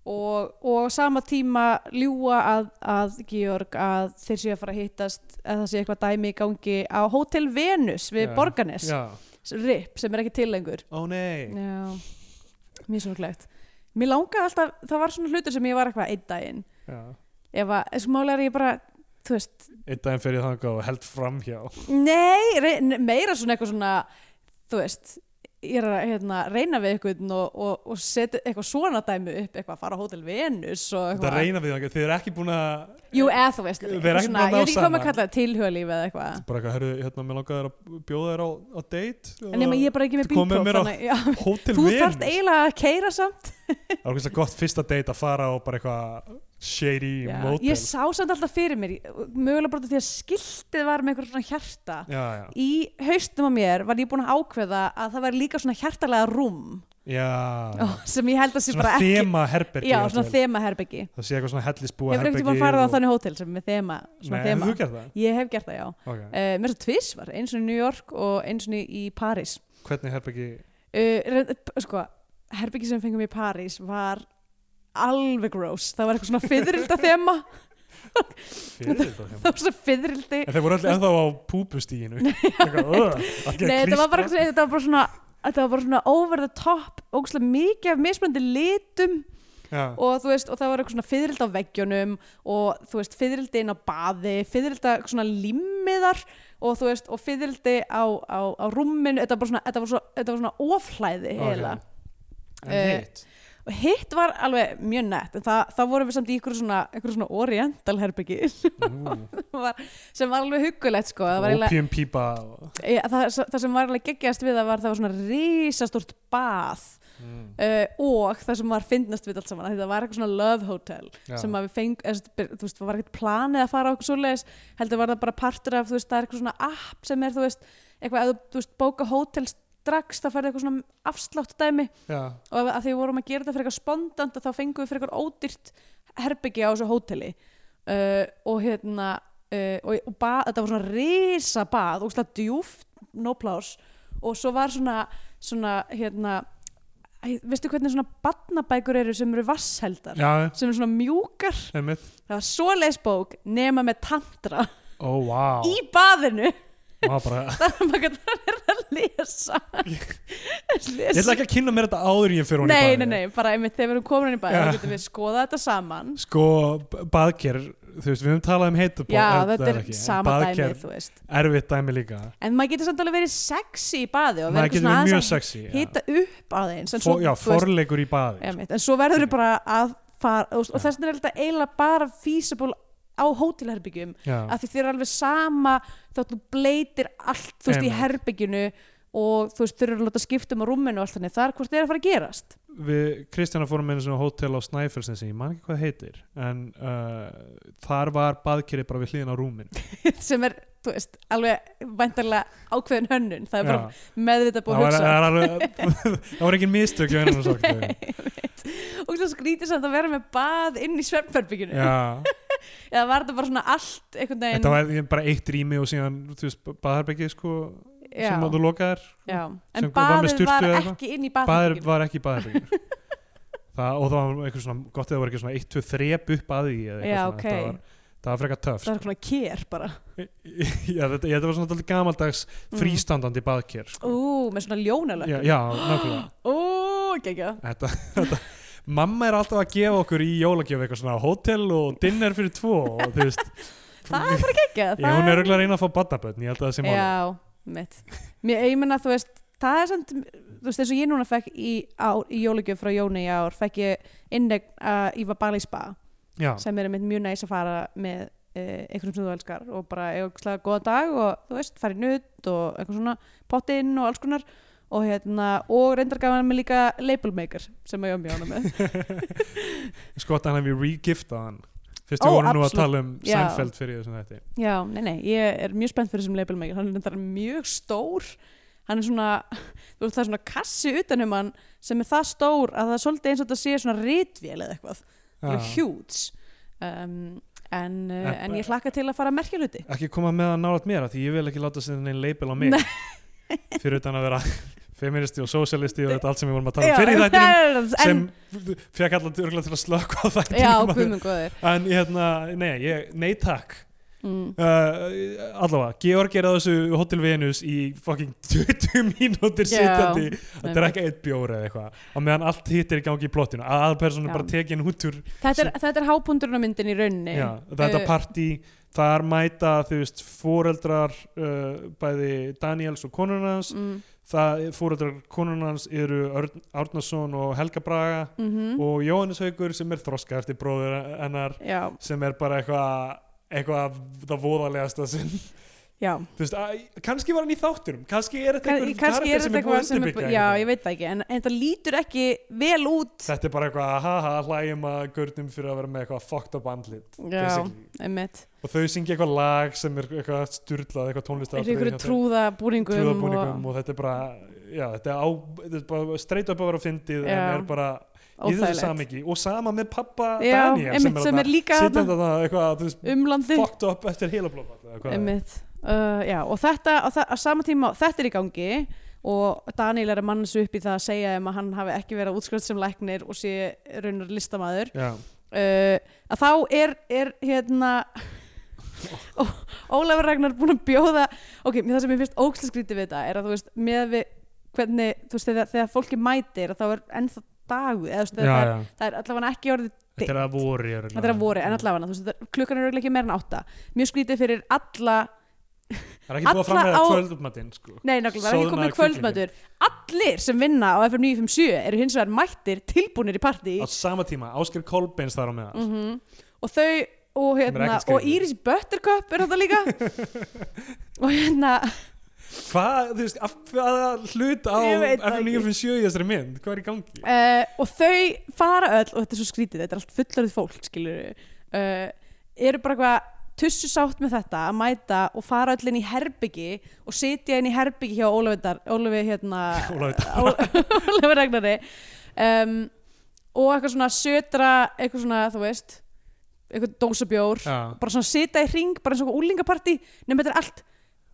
og, og sama tíma ljúa að, að Georg að þeir séu að fara að hittast að það sé eitthvað dæmi í gangi á Hotel Venus við
Já,
Borgarnes
já,
RIP sem er ekki til lengur
ó nei
Já, mjög sorglegt Mér langaði alltaf, það var svona hlutur sem ég var eitthvað einn daginn
já.
ef að, þessu máli er ég bara, þú veist
einn daginn fyrir þangað og held fram hjá
Nei, rey, ne- meira svona eitthvað svona þú veist ég er að hérna, reyna við eitthvað og, og, og setja eitthvað svona dæmi upp eitthvað að fara á Hotel Venus og
þetta
eitthvað
reyna við þangað, þið eru ekki búin að
Jú, e- eða þú veist,
Við erum ekki búin að
eitthvað svona, ég
ná
veit ekki hvað maður
saman.
kallar tilhjóðalíf eða eitthvað.
bara eitthvað, herru, hérna, mér langaði að bjóða þér á, á date
En nema ég er bara ekki með
Þú komið
bílpróf,
mér á-
þannig, já,
hótel
þú
Venus.
þarft eiginlega að keira samt.
það var eitthvað gott fyrsta date að fara á bara eitthvað shady
Já,
motel
Ég sá samt alltaf fyrir mér, mögulega bara því að skiltið var með eitthvað svona hjarta.
já, já,
Í haustum á mér var ég búin að ákveða að það var líka svona hjartalega rúm
já.
sem ég held að sé
svona
bara ekki.
þema herbergi
Já, svona þema herbergi.
það sé eitthvað svona hellisbúa
Hefur
herbergi
ekki bara farið á þannig hótel sem er með þema, svona
Nei, hefur
þema.
þú gert það?
Ég hef gert það, já.
Okay.
Uh, mér svo tvis var, eins og í New York og eins og í París.
Hvernig herbergi
uh, reynd- sko, herbyggi sem við fengum í París var alveg gross það var eitthvað svona fyðrilda þema
fyrir þetta
það
heima?
var svona fyðrildi
En þeir voru allir ennþá á púpustíginu Nei,
nei, þetta var bara, þetta var bara svona þetta var bara svona over the top ógustlega mikið af mismunandi litum
já,
og þú veist, og það var eitthvað svona fyrirld á veggjunum og þú veist, fyrirldi inn á baði fyrirlda svona limmiðar og þú veist, og fyrirldi á, á, á rúmmin, þetta var bara svona, þetta var svona, þetta var svona ofhlæði
Ok.
heila
en
Eh,
hitt
og hitt var alveg mjög nett en það, það vorum við samt í ykkur svona, ykkur svona oriental herbyggi sem var alveg huggulegt sko, það var eiginlega
opium pípa og-
Já, það, það sem var alveg geggjast við það var það var svona risastort bað
Mm,
uh, og það sem var fyndnast við allt saman af því það var eitthvað svona love hotel
já.
sem að við feng, eða, þú veist, þú veist, það var ekkert planið að fara á okkur svoleiðis, heldur var það bara partur af, þú veist, það er eitthvað svona app sem er, þú veist, eitthvað, ef þú, þú veist, bóka hótel strax, þá færði eitthvað svona afslátt dæmi
já,
og af- af því við vorum að gera þetta fyrir eitthvað spondant þá fengum við fyrir eitthvað ódýrt herbyggi á þessu hóteli uh, og hérna uh, og, og ba, þetta var svona risa bað og slag djúft, no plás og svo var svona, svona hérna, æ, veistu hvernig svona badnabækur eru sem eru vassheldar
já,
sem eru svona mjúkar
einmitt
það var svoleiðis bók nema með tantra
ó, vá,
í baðinu
vá bara
þar að maður gæti verið að lesa
ég ætla ekki að kynna mér þetta áður en ég fyrir hún
Nei,
í
nei,
bæði
nei, bara einmitt þegar við erum komin inn í bæði
Já.
þá getum við skoðað þetta saman
sko, baðker þú veist, við höfum talað um heitu
Já, þetta er sama dæmið, þú veist
erfitt dæmi líka
En maður getur samt alveg verið sexy í baði og
maður
verið
getur
svona
verið mjög
aðeins að
sexy já.
hita upp aðeins en svo,
For, já,
þú veist,
forleikur í baði
einmitt, en svo verður við bara að fara og, og þess vegna er þetta eiginlega bara feasible á hótelherbyggjum
já,
af því þér er alveg sama þá þú bleitir allt, þú veist, í
Einmitt.
herbyggjunu og þú veist, þurfir að láta skiptum á rúminu og allt þannig, það er hvort þið er að fara að gerast
við Kristjana fórum einu svona hótel á Snæfellsnesi, ég man ekki hvað það heitir en uh, þar var baðkerið bara við hliðin á rúmin
sem er, þú veist, alveg væntarlega ákveðin hönnun, það er bara
Já,
meðvitað
það
búið
var,
að hugsa
það var alveg- það var engin mistök hjá einum og sagt þau.
og svo skrítið samt að vera með bað inn í svefnberbygginu
Já,
eða var þetta bara svona allt einhvern veginn
þetta var bara eitt rými og síðan þú veist, baðherbyggi sko
já,
sem að þú lokaðir,
já.
sem
en
kom- var með
baðið
sturtu
var
eða eitthvað?
ekki inn í
baðir
baðherbygginu
var ekki baðherbyggi það, og það var eitthvað svona gott eða það var ekki svona eitt, tvö, þrep upp að því eða eitthvað
Já,
svona.
ok.
það var, það var frekar töff
það var svona kér bara
Já, þetta, já, þetta var svona dálítið gamaldags frístandandi baðker sko.
Mm. ú, með svona ljónalökk
já, já, nákvæmlega
ú, geggja
þetta, þetta, Mamma er alltaf að gefa okkur í jólagjöf eitthvað svona hótel og dinner fyrir tvo og þú veist
það er bara geggja
ég, hún er auðvitað að reyna að fá badnabötn ég held að það sé máli
já, mitt mér einmenna þú veist það er samt, þú veist eins og ég núna fekk í, ár- í jólugjöf frá Jóni í ár fekk ég innegn uh, í Vabali Spa
já,
sem er einmitt mjög næs að fara með uh, einhverjum sem þú elskar og bara eiga góða dag og þú veist, fara í nutt og eitthvað svona pottinn og alls konar og hérna, og reyndar gaf hann með líka label maker sem ég var mjög ána með
sko að hann hefði regiftað hann fyrst
Ó,
við vorum nú að
absolutt.
tala um
Já.
Seinfeld fyrir þessum þetta
já, nei, nei, ég er mjög spennt fyrir þessum label maker hann er reyndar mjög stór hann er svona, þú veist, það er svona kassi utanum hann sem er það stór að það er svolítið eins og þetta sé svona ritvél eða eitthvað,
Ah,
það er huge um, en, uh,
En-
en ég hlakka til að fara að merkja hluti
ekki koma með að nálat mér af því ég vil ekki láta sér neinn label á mig fyrir utan að vera feministi og sosialisti og þetta allt sem við vorum að tala um fyrir í þættinum
þættinum
sem fekk allan örgulega til að slökka á þættinum
Já,
maður.
guðmund góður
en hérna, nei, ég, nei takk
mm.
uh, allavega, Georg er að þessu Hotel Venus í fucking 20 mínútur
Já,
sitjandi að
einmitt.
drekka eitt bjór eða eitthvað og meðan allt hitt er í gangi í plottinu að aðalpersonu
Já.
bara tekin út úr
þetta, er, þetta er hábúndurinn á myndin í rauninni
já, þetta
Uh,
partí þar mæta, þú veist, foreldrar uh, bæði Daniels og konunans
mm,
það, foreldrar konunans eru Örn Árnason og Helga Braga
mhm,
og Jóhannes Haugur sem er þroska eftir bróður hennar
Já,
sem er bara eitthvað eitthvað það voðalegasta sem þú
já
veist, að, kannski var hann í þátturum kannski er þetta
Kann,
einhver
kannski er
karakter
þetta
búið
eitthvað sem er
endurbyggja
Já,
einhvern
ég
veginn.
veit það ekki En, en þetta lítur ekki vel út
þetta er bara eitthvað haha hlægjum að gurnum fyrir að vera með eitthvað fucked up andlit
Já,
basically.
einmitt
og þau syngja eitthvað lag sem er eitthvað styrlað eitthvað tónlist
Er ykkur trúðabúningum
trúðabúningum hérna og þetta er bara já, þetta, er á, þetta er bara straight up að vera fyndið en
Já.
er bara í þessu
óþægilegt
samiki og sama með pappa
Já,
Daniel
einmitt, sem
þarna-
er líka
sitjandi
þarna- Um
þarna eitthvað þú veist,
Umlandi
fucked up eftir heila blóðfall
einmitt uh, já, og þetta á, þa- á sama tíma þetta er í gangi og Daniel er að manna sig upp í það að segja um að hann hafi ekki verið útskrift sem læknir og sé raunar listamaður
Já,
uh, að þá er, er hérna Ó- Ólafur Ragnar búin að bjóða ok, mér það sem ég finnst ókslega skrítið við þetta er að þú veist, með við hvernig, þú veist, þegar, þegar fólki mætir að þá er ennþá dagu eða, þú veist,
já,
það, er,
já.
það er allavega ekki orðið
Þetta er að voru ég
þetta er að voru en allavega þú veist, það- klukkan er auðvitað ekki meira en átta mjög skrítið fyrir alla
Það er ekki búið að
alla
framlega
á-
kvöldmatinn sko.
nei nákvæmlega það er ekki
Soðnaður
komið kvöldmötur allir sem vinna á FM 957 eru hins vegar mættir tilbúnir í partí
Á sama tíma, Ásker Kolbeins þar á meðal
mm og þau og,
Sem er
hérna,
ekkert
og
skrítið.
Íris Buttercup er þetta líka og hérna
Hvað, þú veist, af hvaða hlut á
Ég veit það
FN957 í þessari mynd? Hvað er í gangi?
uh, og þau fara öll og þetta er svo skrítið, þetta er allt fullorðið fólk skilur uh, eru bara eitthvað tussu sátt með þetta að mæta og fara öll inn í herbyggi og sitja inn í herbyggi hjá Ólafi Dar- Ólafi hérna
Ólafi
Ólafi Ragnari um, og eitthvað svona sötra eitthvað svona þú veist eitthvað dósabjór
Já,
bara svona sita í ring, bara eins og úlingaparti nema þetta er allt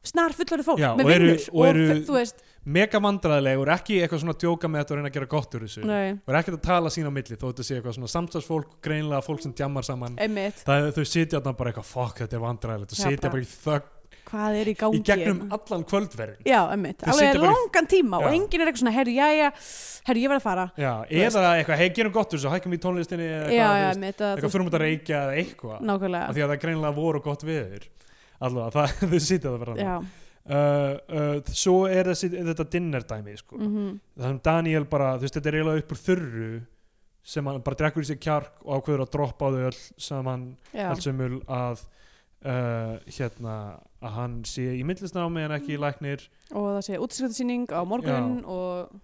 snar fullorðið fólk
Já,
með
og eru-
vinnur
og eru-
fu- þú veist
mega vandræðilegur, ekki eitthvað svona að djóka með þetta og reyna að gera gott úr þessu
nei,
og er ekkert að tala sín á milli þó þetta sé eitthvað svona samstagsfólk, greinlega fólk sem djammar saman
einmitt,
það er þau sitja þarna bara eitthvað, fuck þetta er vandræðilegt og
Já,
sitja
bara-
bara í þögn
hvað er í gangi
í gegnum
hérna?
allan kvöldverðin
Já, emmitt,
Þau
alveg
sitja bara í-
langan tíma
Já.
og enginn er eitthvað svona, herru, jæja, herru, ég verð að fara
Já,
veist.
eða eitthvað, hei, gerum gott úr þessu, hækkum í tónlistinni eða
Já,
eitthvað,
já,
þú veist,
emmitt, að
eitthvað fyrir mútt að reykja eða eitthvað af
nákvæmlega
því að það greinlega voru gott veður allavega, það- þau sitja það bara þarna.
Já,
uh, uh, svo er þessi, þetta dinner dæmi sko.
mhm,
það sem Daniel bara, þú veist, þetta er eiginlega upp úr þurru sem hann bara drekkur í sig kjark og ákveður að droppa á þau öll saman
já,
allsumul að uh, hérna, að hann sé í myndlisnámi en ekki í læknir
og það sé útiskriftasýning á morgun og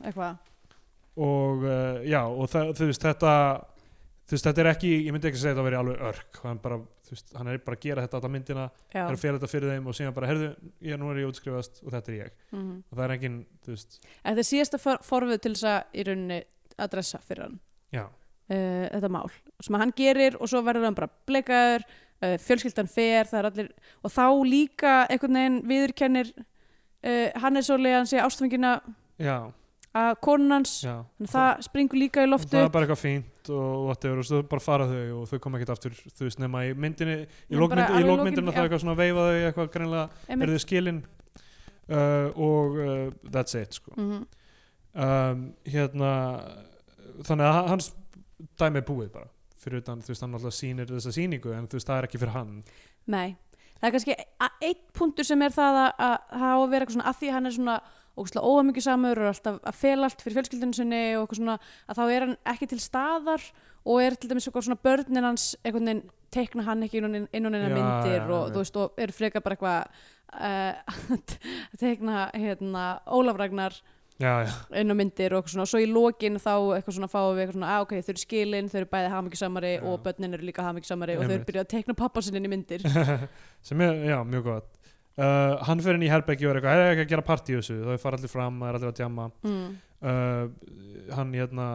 eitthvað
og uh, já, og það, þú veist, þetta þú veist, þetta er ekki, ég myndi ekki segja þetta að vera alveg örk, hann bara, þú veist, hann er bara að gera þetta alla myndina,
Já,
er að fela þetta fyrir þeim og síðan bara, herðu, ég, nú er ég útskrifast og þetta er ég,
mhm
og það er engin, þú veist
Þetta er síðasta for forfið til þess að í rauninni adressa fyrir hann
já,
uh, þetta mál sem að hann gerir og svo verður hann bara blekaður uh, fjölskyldan fer, það er allir og þá líka einhvern veginn viðurkennir uh, hann er svolítið að hann sé ástfangina
já,
að konun hans
já
þannig að það springur líka í
og
loftu
það er bara eitthvað fínt og whatever og svo bara fara þau og þau koma ekkert aftur þú veist nema í myndinni í
Nema bara
lókmyndinna
alveg
lókmyndin,
í
lókmyndin, það
lokin, já.
er eitthvað svona veifa þau eitthvað greinlega
Einmitt.
er þau skilin uh, og uh, that's it sko.
Mhm.
um, hérna þannig að hans dæmi er búið bara fyrir utan þú veist hann alltaf sýnir þessa sýningu en þú veist það er ekki fyrir hann
Nei, það er kannski a- einn punktur sem er það að, að það á að vera eitthvað svona að því að hann er svona ógustlega óamikið samur og alltaf að fel allt fyrir fjölskyldinu sinni og eitthvað svona að þá er hann ekki til staðar og er til dæmis eitthvað svona börnin hans einhvern veginn teikna hann ekki innan innan
Já,
hennar myndir
já,
og
já.
þú veist og er frekar bara eitthvað uh, að teikna hérna Ólaf Ragnar
já, já,
inn á myndir og, eitthvað svona, og svo í lokin þá eitthvað svona fáum við eitthvað svona ah, ok, þau eru skilin, þau eru bæði hamingjusamari
Já.
og börnin eru líka hamingjusamari og þau
Einmitt.
eru byrjað að tekna pappa sinni inn í myndir
sem er, já, mjög gott uh, hann fyrir inn í herbergi og er eitthvað er ekki að gera partí í þessu, þau fara allir fram það er allir að djama
mm.
uh, hann hérna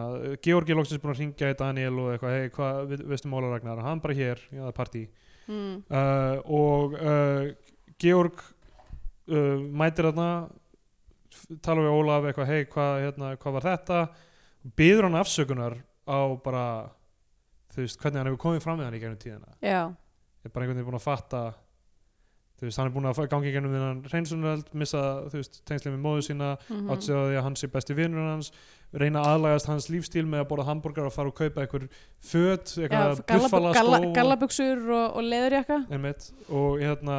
Georgi er loksins búin að ringja í Daniel og eitthvað, hei, hvað við, veistu Móla Ragnar hann bara hér, já, það er partí
Mm.
uh, og uh, Georg uh, mætir þarna f- talar við Ólaf eitthvað, hei, hvað hérna, hva var þetta byður hann afsökunar á bara þú veist, hvernig hann hefur komið fram við hann í gegnum tíðina
Já,
er bara einhvern veginn búin að fatta þú veist, hann er búin að fa- gangi í gegnum þennan reynsunöld, missa, þú veist, tengslið með móðu sína
mm
átt sig á því að hann sé besti vinnur hans reyna að aðlagast hans lífstíl með að borða hamburgar og fara og kaupa einhver föt,
já
eitthvað
galla,
buffala
galla,
skó
gallabuxur og, og leðurjakka
einmitt, og hérna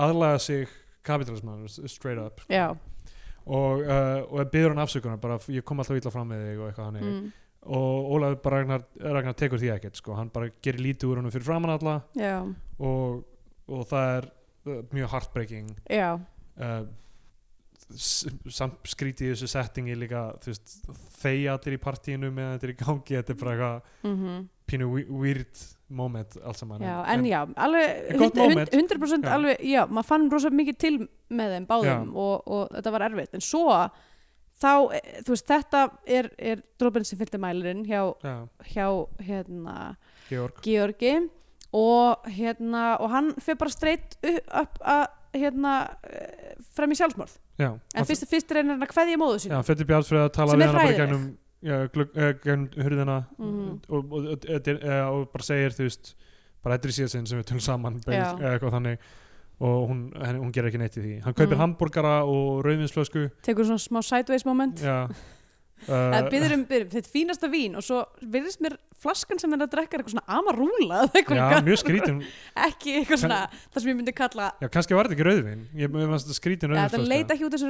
aðlaga sig kapitalismann straight up
Já,
og, uh, og byrður hann afsökunar bara ég kom alltaf illa fram með þig og eitthvað hannig
mm.
og Ólafur bara Ragnar, Ragnar tekur því ekkert sko, hann bara gerir lítið úr honum fyrir framann alla
já,
og, og það er uh, mjög heartbreaking
já
uh, s- samt skrítið í þessu settingi líka þú veist, þeir allir í partíinu meðan þetta er í gangi, þetta er bara eitthvað
mm
pínu we- weird moment alls saman
Já, en, já, alveg
En gott
hund- hund-
moment.
100%
Já.
alveg, já, maður fann rosa mikið til með þeim báðum og, og þetta var erfitt en svo þá, eh, þú veist, þetta er, er dropin sem fylgdi mælirinn hjá,
já,
hjá hérna,
Georg
Georgi og hérna, og hann fyrir bara streitt upp að hérna, eh, frem í sjálfsmorð
já,
en
hann-
fyrst, fyrst reynir hann að kveðja móðu
já,
sín
hann fyrir Bjartfrið að tala
Sem
við
er
hana bara í
hræðilegt.
gegnum já, glugg, uh, gegnum hurðina
Mhm.
og, og, og, og, eh, og bara segir þú veist, bara þetta er síðan sinn sem við tölum saman
Já.
bein, eitthvað þannig og hún, henni, hún gerir ekki neitt í því hann kaupir
Mhm.
hamburgara og rauðvinsflösku
tekur svona smá sideways moment
já,
Það
uh,
byrður um, byrður um þetta fínasta vín og svo virðist mér flaskan sem er að drekka er eitthvað svona amarúla eða eitthvað
Já,
líka.
mjög skrítin
ekki eitthvað svona, það sem ég myndi kalla
Já, kannski var þetta ekki rauðvin Ég mér fannst þetta skrítin
Ja, þetta
rauðvinsflaska.
leita ekki út þessu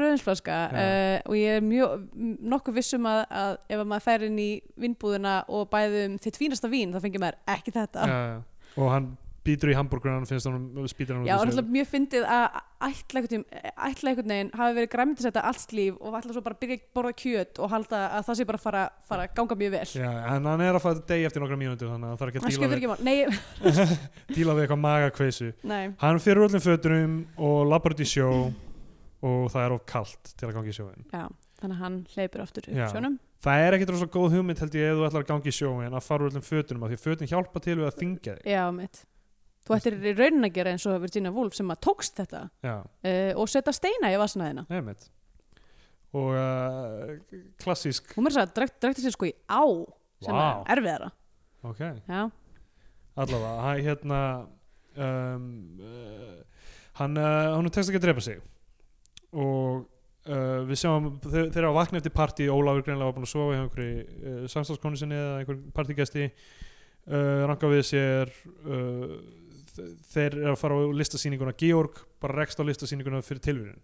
Já.
rauðinsflaska uh, og ég er mjög, m- nokkuð vissum að, að ef að maður fær inn í vinnbúðuna og bæði um þitt fínasta vín þá fengir maður ekki þetta
Já, já. Og hann býtur í hambúrgrunum finnst honum spýtir hann út
Já,
úr
og
sér.
náttúrulega mjög fyndið að ætla einhvern veginn- ætla einhvern veginn hafi verið græmið þetta allt líf og ætla svo bara að byrja að borða kjöt og halda að það sé bara að fara, fara að ganga mjög vel.
Já, en hann er að fara degi eftir nokkra mínútur þannig að það þarf
Það
ekki að
skiptir
díla við,
ekki mál. Nei, ég-
díla við eitthvað magakveisu
nei.
Hann fyrir öllum fötunum og labbar út í sjó og það er of kalt til að gangi í sjóin
Já, þannig að hann hleypur aftur upp
Já.
sjónum.
Það er ekkit rosa góð hugmynd held ég ef þú ætlar að gangi í sjóin að fara úr öllum fötunum af því að fötin hjálpa til við að þingja þig
Já, mitt. Þú ættir í raunin að gera eins og Virginia Woolf sem að tókst þetta
Já,
uh, og setja steina í vasnaðina.
nefnit Og uh, klassísk
Hún mér sagði að drekti, drekti sér sko í á sem
Vá.
er erfiðara.
Ok,
Já,
allavega, hann hérna um, uh, hann, uh, hann tekst ekki að drepa sig og uh, við sjáum þeir, þeir eru að vakna eftir partí Ólafur greinlega var búin að sofa hjá einhverju uh, samstagskonu sinni eða einhverju partígesti uh, ranka við sér uh, þe- þeir eru að fara á listasýninguna Georg bara rekst á listasýninguna fyrir tilvíðin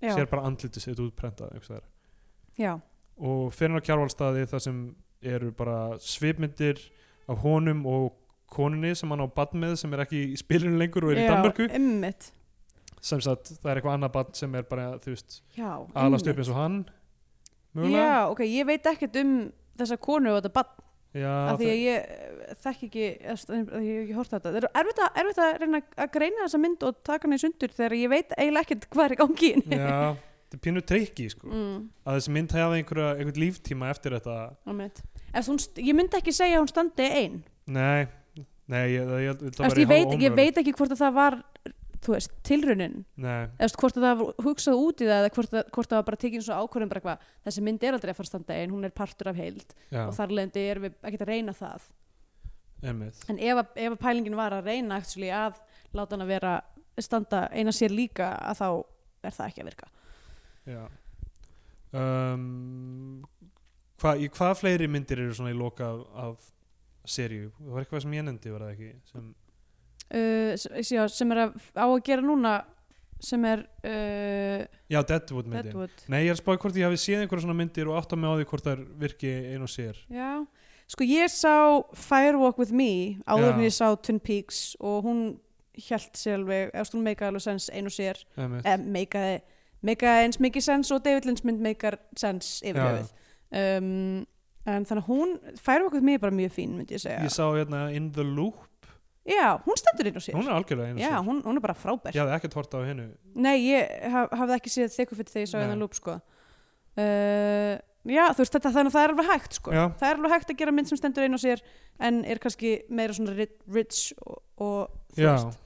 já,
sér bara andlitið sitt útprentað einhvers staðar.
já,
og fyrir hann á kjárvalstaði þar sem eru bara svipmyndir af honum og konunni sem hann á badn með sem er ekki í spilinu lengur og er í
Já,
Danmarku
Einmitt.
sem sagt það er eitthvað annað badn sem er bara þú veist
Já,
aðlast upp
einmitt.
eins og hann mögulega
Já, ok, ég veit ekkert um þessa konu og þetta bann
Já,
af því
það-
að ég eh, þekki ekki af því að ég hef ekki hort þetta. Það er erfitt að, erfitt að reyna að greina þessa mynd og taka henni í sundur þegar ég veit eiginlega ekkert hvað er í gangi í henni.
já, þetta er pínu treyki sko.
Mm,
að þessi mynd hafa einhverja, einhvern líftíma eftir þetta
einmitt. Ef hún, st- ég myndi ekki segja að hún standi ein
nei, nei ég, ég, ég, það
Eftir,
væri
ég, veit,
hálf
ég
ómögulegt.
veit ekki hvort að það var þú veist, tilraunin
nei,
eða þú veist, hvort að það var hugsað út í það eða hvort, að, hvort það var bara tekin svo ákvörðum bara eitthvað, þessi mynd er aldrei að fara að standa ein, hún er partur af heild
já,
og þar leðandi erum við ekkert að reyna það
einmitt
en ef, að- ef að pælingin var að reyna actually, að láta hann að vera standa eina sér líka að þá er það ekki að virka
Já um, hva, í, Hvað fleiri myndir eru svona í loka af, af seríu? Það var eitthvað sem ég nefndi, var það ekki? Sem,
uh, s- já, sem er að, á að gera núna sem er uh,
já, Deadwood myndin
Deadwood
Nei, ég er að spáði hvort ég hafi séð einhverja svona myndir og átta mig á því hvort þær virki ein og sér
Já, sko ég sá Firewalk with Me
Já.
áður en ég sá Twin Peaks og hún hjælt sér alveg, eða hún meikaði alveg sens einu sér,
Einmitt.
eða meikaði meikaði eins mikið sens og David Lynch mynd meikar sens yfir
Já.
höfuð um, en þannig að hún Firewalk with Me er bara mjög fín, myndi ég segja
Ég sá hérna In the Loop
Já, hún stendur einu sér
Hún er algjörlega ein og
Já,
sér
hún, hún er bara frábær
Ég hafði ekkert hort á hennu
Nei, ég haf, hafði ekki séð þykku fyrir þegar ég sá
Nei.
hérna lúp sko. uh, Já, þú veist þetta þannig að það er alveg hægt sko.
Já.
Það er alveg hægt að gera mynd sem stendur einu og sér en er kannski meira svona ri- rich og, og þú
Já,
veist,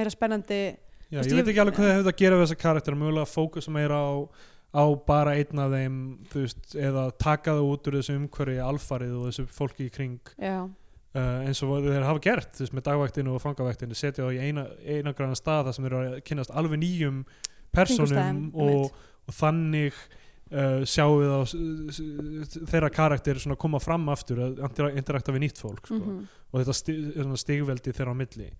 meira spennandi
já
Þú
ég
veist, ég-
veit ekki alveg hvað það hefur að gera við þessa karakter mjögulega fókusa meira á, á bara einn af þeim þú veist, eða taka það út úr þessu umhverfi alfarið og þessu fólki í kring
Já,
uh, eins og þeir hafa gert þú veist, með dagvæktinu og fangavæktinu setja þá í eina, eina græna stað þar sem eru að kynnast alveg nýjum persónum
Kringumstæðum,
og, og þannig uh, sjáum við á s- s- þeirra karakter svona koma fram aftur að intera- interakta við nýtt fólk sko.
mm -hmm.
og þetta sti, svona stigveldi þeirra á milli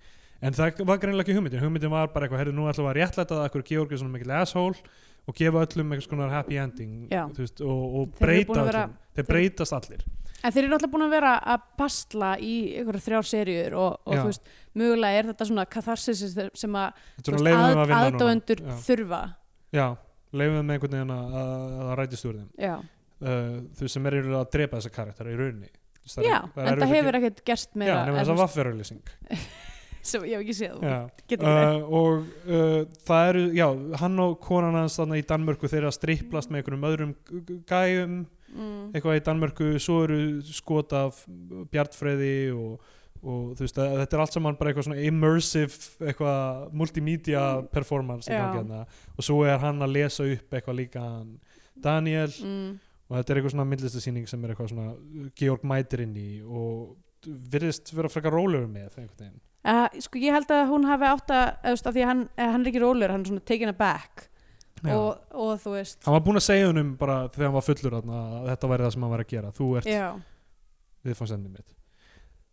en það var greinilega ekki hugmyndin hugmyndin var bara eitthvað, heyrðu nú ætlum við að réttlæta það akkur Georg er svona mikill asshole og gefa öllum eitthvað svona happy ending
Já.
þú veist, og, og
Þeir eru búin
breyta
að vera-
öllum þeir breytast allir
En þeir eru náttúrulega búin að vera að pastla í einhverjar þrjár serjur og, og
Já.
þú veist, mögulega er þetta svona katharsis sem
Þetta
að, þú
er
veist,
svona leyfum þeim
að
að vinna núna.
aðdáendur
Já.
þurfa
Já, leifum með einhvern veginn að, að, að rætist úr þeim
Já,
uh, Þau sem eru að drepa þessa karakter í rauninni Þú veist,
Já en það hefur ekkert gerst
meira
meira
Já, nefnir
en-
þess að vafferauðlýsing
sem ég hef ekki séð
Já
Getur ekki
Uh, og uh, það eru, já, hann og konan hans þannig í Danmörku þeir eru að striplast með einhverjum öðrum g- g- gæjum
Mm.
eitthvað í Danmörku, svo eru skot af Bjartfreði og, og þú veist að þetta er allt saman bara eitthvað svona immersive eitthvað multimedia performance í
Mm, Já.
gangi hérna. og svo er hann að lesa upp eitthvað líka hann Daniel
Mm.
og þetta er eitthvað svona myndlistasýning sem er eitthvað svona uh, Georg mætir inn í og virðist vera frekar rólegur með einhvern veginn
Uh, sko ég held að hún hafi átt að, eða, þú veist, af því að hann, eh, hann er ekki rólur, hann er svona taken aback
Já.
og, og þú veist
hann var búin að segja honum bara þegar hann var fullur þarna, að þetta væri það sem hann væri að gera þú ert
já,
viðfangsefnið mitt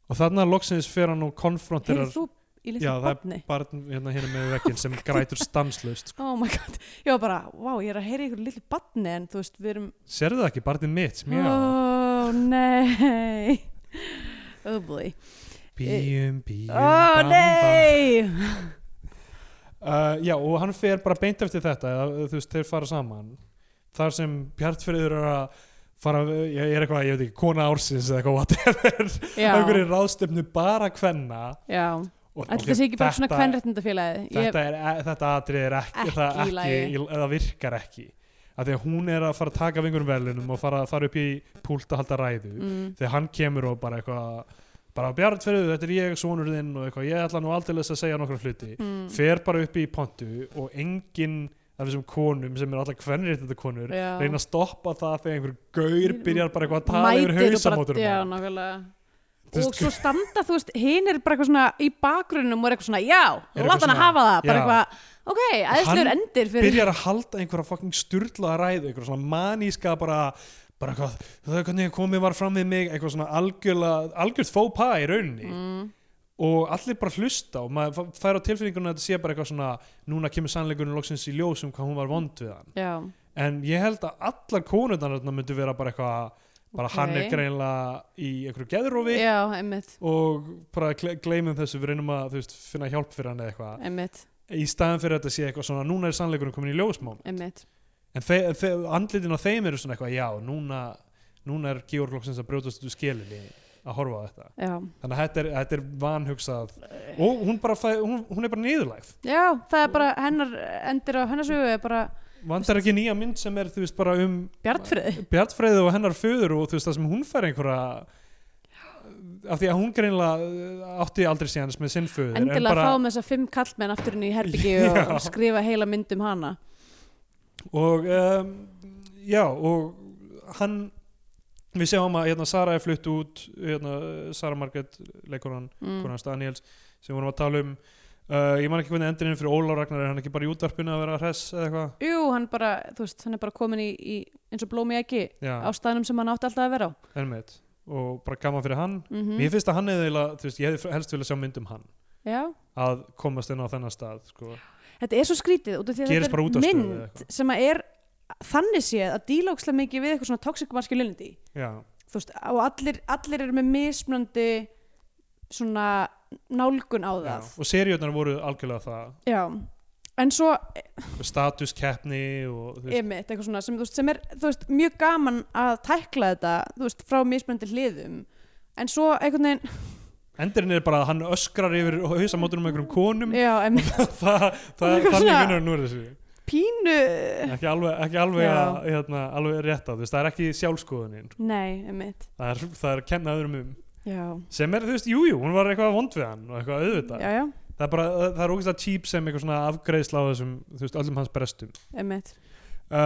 og þarna loksins fer hann og konfronterar
heyrðu þú í
Já,
litlu
það er-
barni
barn hérna hérna með vekkinn sem grætur stanslust
oh my god, ég var bara, wow, ég er að heyra ykkur litlu barni en þú veist, við erum
sérðu það ekki, barnið mitt mjá,
oh, nei oh boy,
bíum, bíum
oh
bam, bam.
nei
Uh, já, og hann fer bara beint eftir þetta eða, þú veist, þeir fara saman þar sem Bjartfriður er að fara, ég er eitthvað, ég veit ekki, kona ársins eða eitthvað, whatever,
já,
einhverju ráðstefnu bara kvenna
já,
og,
ætli það sé ekki bara svona kvenréttindafélagið ég,
þetta, er, e- þetta atrið er ekki,
Ekki
það,
í
ekki
lagi.
í- það virkar ekki af því að hún er að fara að taka af einhverjum velunum og fara, fara upp í púlt að halda ræðu
mm,
þegar hann kemur og bara eitthvað bara Bjartfriður, þetta er ég, sonur þinn og eitthvað, ég ætla nú aldrei að segja nokkra hluti
mm,
fer bara upp í pontu og enginn af þessum konum sem eru alltaf kvennrétt þetta konur
Já.
reyna að stoppa það þegar einhver gaur byrjar bara eitthvað að tala
mætir
yfir
og bara-
hausamótur
já, nákvæmlega og svo standa, þú veist, hinn er bara eitthvað svona í bakgrunum og er eitthvað svona, já,
Er eitthvað
láta hann að
svona,
hafa það, bara
já.
eitthvað, ok, æðislegur endir fyrir,
byrjar að halda einhverja fucking sturlaða ræðu einhverja svona maníska bara bara eitthvað, það er hvernig komið var fram við mig eitthvað svona algjörlega, algjört faux pas í rauninni
mm,
og allir bara hlusta og maður fær á tilfinninguna að þetta sé bara eitthvað svona núna kemur sannleikurinn loksins í ljós um hvað hún var vond við hann
já,
en ég held að allar konurnar þarna myndu vera bara eitthvað bara
Ok.
hann er greinlega í einhverju geðrófi
já, einmitt,
og bara gle- gleymum þessu við reynum að þú veist, finna hjálp fyrir hann eða eitthvað
einmitt,
í staðan fyrir að þetta sé eitthvað svona núna er sannleikurinn komin í ljósmám
einmitt,
en þe þe andlitin á þeim eru svona eitthvað já, núna, núna er Georg Lóksins að brjótast út úr skilinni að horfa á þetta
já,
þannig að þetta er, þetta er vanhugsað
Eh.
og hún, bara fæ, hún, hún er bara niðurlægð
já, það er bara, hennar endir á hennar sögu er bara
vandar ekki nýja mynd sem er þú veist bara um
bjartfrið,
Bjartfreðu og hennar föður og þú veist það sem hún fær einhverja af því að hún greinlega uh, átti aldrei síðans með sinn föður en
endilega
bara,
fáum þess að fimm kallmenn aftur inn í herbyggi
Já.
og skrifa heila mynd um hana,
og um, já og hann við sjáum að hérna, Sara er flutt út hérna, Sara Margrét leikonan
mm,
konans Daniels sem vorum að tala um uh, ég man ekki hvernig endurinn fyrir Óla Ragnar er hann ekki bara í útvarpinu að vera hress eða eitthvað
jú, hann bara, þú veist, hann er bara komin í, í eins og blómi ekki, á
já,
staðnum sem hann átti alltaf að vera á,
ennmitt og bara gaman fyrir hann
mhm,
mér finnst að hann eða þú veist ég hefði helst vilja sjá mynd um hann
já,
að komast inn á þennan stað sko.
Þetta er svo skrítið út af því að
Gerist bara út
þetta
af
er
stöðu eða
mynd sem að er þannig séð að dílókslega mikið við eitthvað svona toxic masculinity
Já,
þú veist, og allir, allir eru með mismunandi svona nálgun á
já.
það
og seriurnar voru algjörlega það
já, en svo
statuskeppni og þú veist,
emitt, eitthvað svona sem, þú veist, sem er þú veist, mjög gaman að tækla þetta þú veist, frá mismunandi hliðum en svo einhvern veginn,
endurinn er bara að hann öskrar yfir hausamótunum með einhverjum konum
já, emitt
það, það,
er
það,
eitthvað
þannig
svona-
vinnur nú er þessu
pínu,
ekki alveg, ekki alveg,
Já.
að, hérna, alveg rétt á þú veist, það er ekki sjálfskoðunin
nei, emitt
það er, það er að kenna öðrum um
já,
sem er, þú veist, jújú, jú, hún var eitthvað vond við hann og eitthvað auðvitað
já, já,
það er bara, það er ógeðslega típ sem eitthvað svona afgreiðsla á þessum, þú veist, öllum hans brestum
emitt
uh,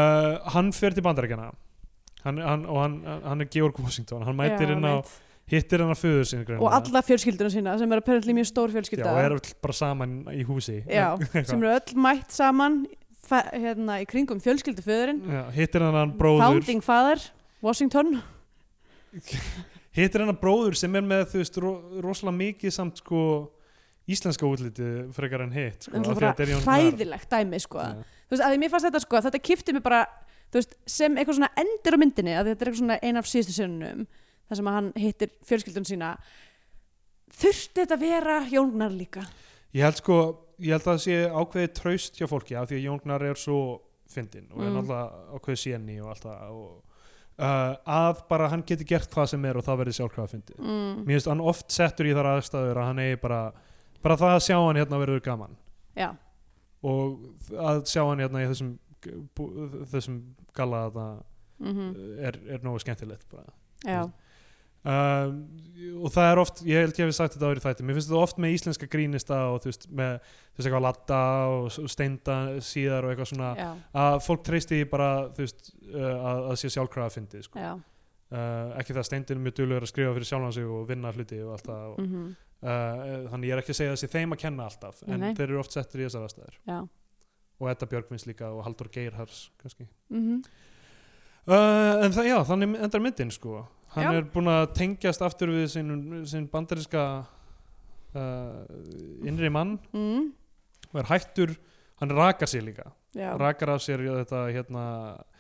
hann fer til bandarækjana hann, hann, og hann, hann er Georg Washington hann mætir
já,
inn á,
einmitt.
hittir hann að föður sín
og alla fjölskylduna sína sem er apparently mjög stór
Já,
fjölskylda
og er öll bara saman í húsi
Já, sem eru öll mætt saman fa- hérna, í kringum fjölskylduföðurinn
Já, hittir hann hann bróður
founding father, Washington
hittir hann hann bróður sem er með þú veist ro rosalega mikið samt sko íslenska útlitið frekar en hitt sko,
en
af
það
því
bara
að þetta er Jón Gnarr.
hræðilegt dæmi sko.
Já.
þú veist, að því mér fannst þetta sko, þetta kipti mér bara þú veist, sem eitthvað svona endir á myndinni að þetta er eitthvað svona ein af síðustu sönunum þar sem að hann hittir fjölskyldun sína þurfti þetta að vera Jónar líka
ég held sko, ég held að það sé ákveðið traust hjá fólki af því að Jóngnar er svo fyndin og er
Mm.
náttúrulega ákveðið séni og allt það og uh, að bara hann geti gert hvað sem er og það verði sjálfkrafa fyndið
mm,
mér finnst hann oft settur í þar aðstæður að hann eigi bara, bara það að sjá hann hérna verður gaman
já,
og að sjá hann hérna í þessum bú- þessum galla að
mm
er, er nógu skemmtilegt bara.
já,
um, og það er oft ég held ég hefði sagt þetta árið þætti, mér finnst þetta oft með íslenska grínista og þú veist með þú veist eitthvað latta og s- og steinda síðar og eitthvað svona
já,
að fólk treysti því bara þú veist uh, að, að sé sjálfkrafa fyndið sko.
já
uh, ekki það að steindin er mjög duglegur að skrifa fyrir sjálfan sig og vinna hluti og allt það og, eh,
mm
uh, þannig ég er ekki að segja þessi þeim að kenna alltaf en
Nei, nei.
þeir eru oft settir í þessar aðstæður
já,
og Edda Björgvins líka og Haldur Geirhars kannski
mm
uh, en það, já, þannig endar myndin sko hann
Já.
er búin að tengjast aftur við sinn, sinn bandarinska uh, innri mann
mm.
og er hættur, hann rakar sér líka
Já,
rakar af sér þetta hérna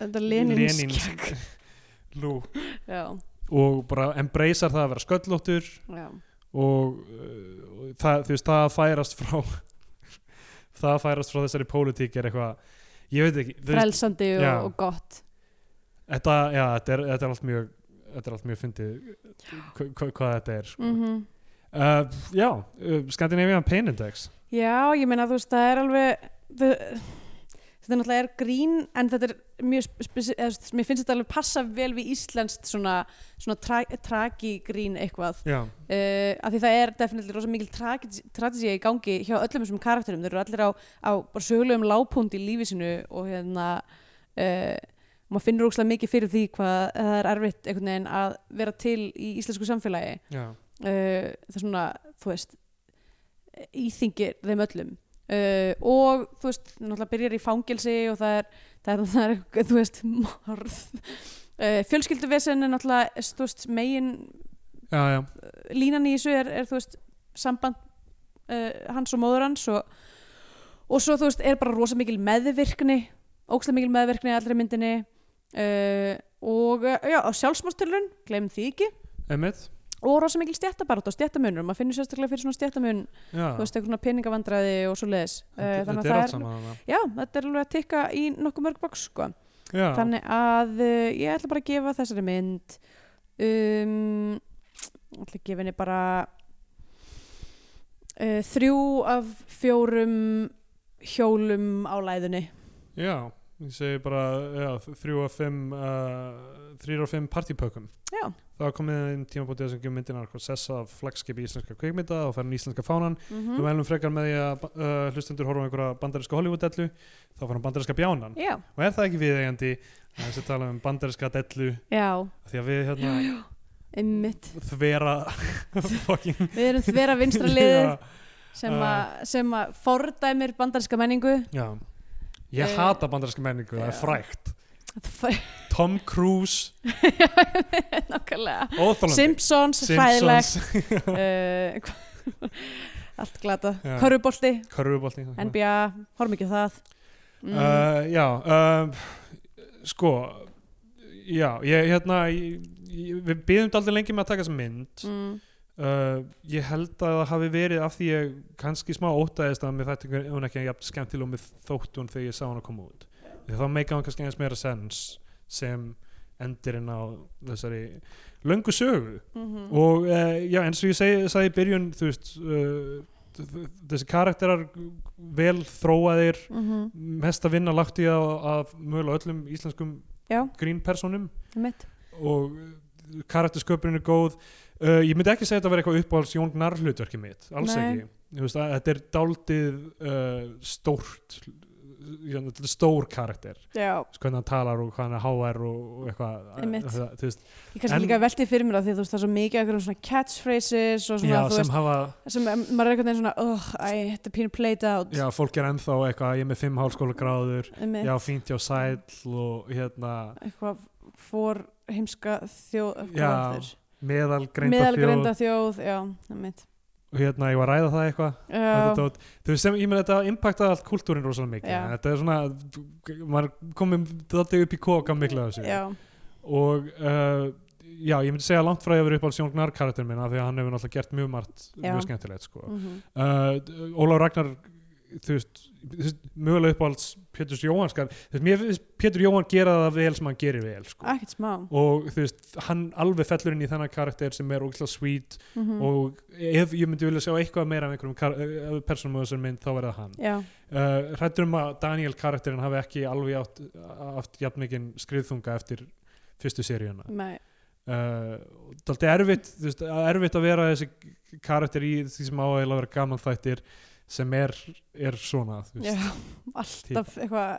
þetta Lenins
Lenins-
kjekk
lú
Já,
og bara embracear það að vera sköllóttur
já,
og, uh, og það, þú veist, það að færast frá það að færast frá þessari pólitík er eitthvað ég veit ekki, þú veist,
frelsandi og,
já.
og gott
þetta, já, þetta, er, þetta er allt mjög þetta er allt mjög fyndið hva, hva, hvað þetta er sko.
mm
uh, já, uh, Scandinavian Pain Index
Já, ég meina þú veist, það er alveg þau- þetta er náttúrulega er grín en þetta er mjög spesi, eða, þú veist, mér finnst þetta alveg passa vel við íslenskt svona, svona tra tragigrín eitthvað,
já,
uh, af því það er definitíli rosa mikil tragedía í gangi hjá öllum þessum karakterum, þeir eru allir á, á bara sögulegum lágpúnd í lífi sinu og hérna uh, maður finnur ógslag mikið fyrir því hvað það er erfitt einhvern veginn að vera til í íslensku samfélagi
já,
uh, það er svona, þú veist íþingir þeim öllum uh, og þú veist, náttúrulega byrjar í fangelsi og það er, það er, það er þú veist, morð uh, fjölskylduvesen er náttúrulega þú veist, megin
já, já,
línan í þessu er, er þú veist, samband uh, hans og móður hans og, og svo þú veist, er bara rosa mikil meðvirkni ógstlega mikil meðvirkni í allri myndinni uh, og uh, já, á sjálfsmástilrun, gleym því ekki
emitt
og rosa mikil stjættabarátt og stjættamunur maður finnur sérstaklega fyrir svona stjættamun
já,
þú veist, uh, eitthvað svona peningavandræði og Eh, svo leiðis
þetta er allt saman þarna.
já, þetta er alveg að tikka í nokkuð mörg boks sko.
já,
þannig að uh, ég ætla bara að gefa þessari mynd um, ég ætla að gefa henni bara uh, þrjú af fjórum hjólum á læðunni
já, ég segi bara já, þrjú og fimm uh, þrjú og fimm partypökum
já,
Það var komið inn tímabótið sem gefur myndina eitthvað sessa af flagskipi íslenska kvikmynda og fær hann íslenska fánan.
mm
Við mælum frekar með því að uh, hlustendur horfum á einhverja bandarinska Hollywood-dellu, þá fær hann bandarinska bjánan.
já,
Og er það ekki viðegandi að þessi tala um bandarinska dellu
já,
því að við hérna
einmitt
þvera fucking...
við erum þvera vinstra liðið
Já,
sem, uh. sem að fordæmir bandarinska menningu
Já. Ég
Eh,
hata bandarinska menningu, það er
já.
frægt.
Það
Tom Cruise,
fæ- nákvæmlega
óþólandi.
Simpsons, hræðilegt uh, allt glata
Já. Mhm.
Körfubolti,
Körfubolti.
NBA, horfum ekki á það mm.
uh, já um, sko já, ég hérna ég, ég, við byðum aldrei lengi með að taka þessa mynd
mm.
uh, ég held að það hafi verið af því ég kannski smá ótaðist að mér þætti hún ekki jafn skemmt til og mér þótt hún þegar ég sá hann að koma út því þá meika hann kannski eins meira sens sem endirinn á þessari löngu sögu
mhm.
og uh, já, eins og ég segi, sagði í byrjun þú veist uh, þ- þ- þessi karakterar vel þróaðir
Mhm.
mest að vinna lagt í að, að mögulega öllum íslenskum
Já.
grínpersonum
Einmitt.
og eh, karaktersköpunin er góð uh, ég myndi ekki segja þetta að vera eitthvað uppáhalds Jón Gnarr hlutverki mitt, alls
Nei.
ekki Þú veist, að, þetta er daldið uh, stórt já, þetta er stór karakter
Já,
Þú veist, hvernig hann talar og hvað hann er háær og, og eitthvað
Einmitt.
Það- þú veist,
ég kannski
En-
líka velti fyrir mér að því að þú veist það er svo mikið af einhverjum svona catchphrases og svona
já,
þú
sem
veist
hafa
sem em, maður er einhvern veginn svona oh, æ, þetta er pínu played out
já, fólk er ennþá eitthvað, ég er með fimm hálskóla gráður
Einmitt.
já, fínt já sæll og hérna
eitthvað fór heimska þjóð
Já, meðalgreinda
meðalgreinda þjóð já, einmitt Eh,
og hérna ég var að ræða það eitthvað
Já.
þetta dót. þú veist sem, ég meina þetta impactaði allt kultúrin rosalega mikið,
Já.
En þetta er svona maður komið þetta upp í koka miklu af þessu
Já,
og uh, já, ég myndi segja langt frá ég að vera upp alls Jón Gnar karakter minna því að hann hefur náttúrulega gert mjög margt,
Já.
mjög skemmtilegt sko.
mm
uh, Ólaf Ragnar þú veist, þú veist mögulega upp alls Péturs Jóhann skar, þú veist, mér finnst Pétur Jóhann gera það vel sem hann gerir vel sko.
ekkert smá
og þú veist, hann alveg fellur inn í þennan karakter sem er ógislega sweet
mm
og ef ég myndi vilja sjá eitthvað meira af einhverjum kar- eh, persónum á þessum mynd þá verða hann
Já,
uh, hrættur um að Daniel karakterinn hafi ekki alveg átt, átt jafn mikinn skriðþunga eftir fyrstu seríuna
með
uh, daldi erfitt þú veist, að erfitt að vera þessi karakter í því sem á eiginlega að vera gaman þættir sem er, er svona þú
Já,
veist.
alltaf eitthvað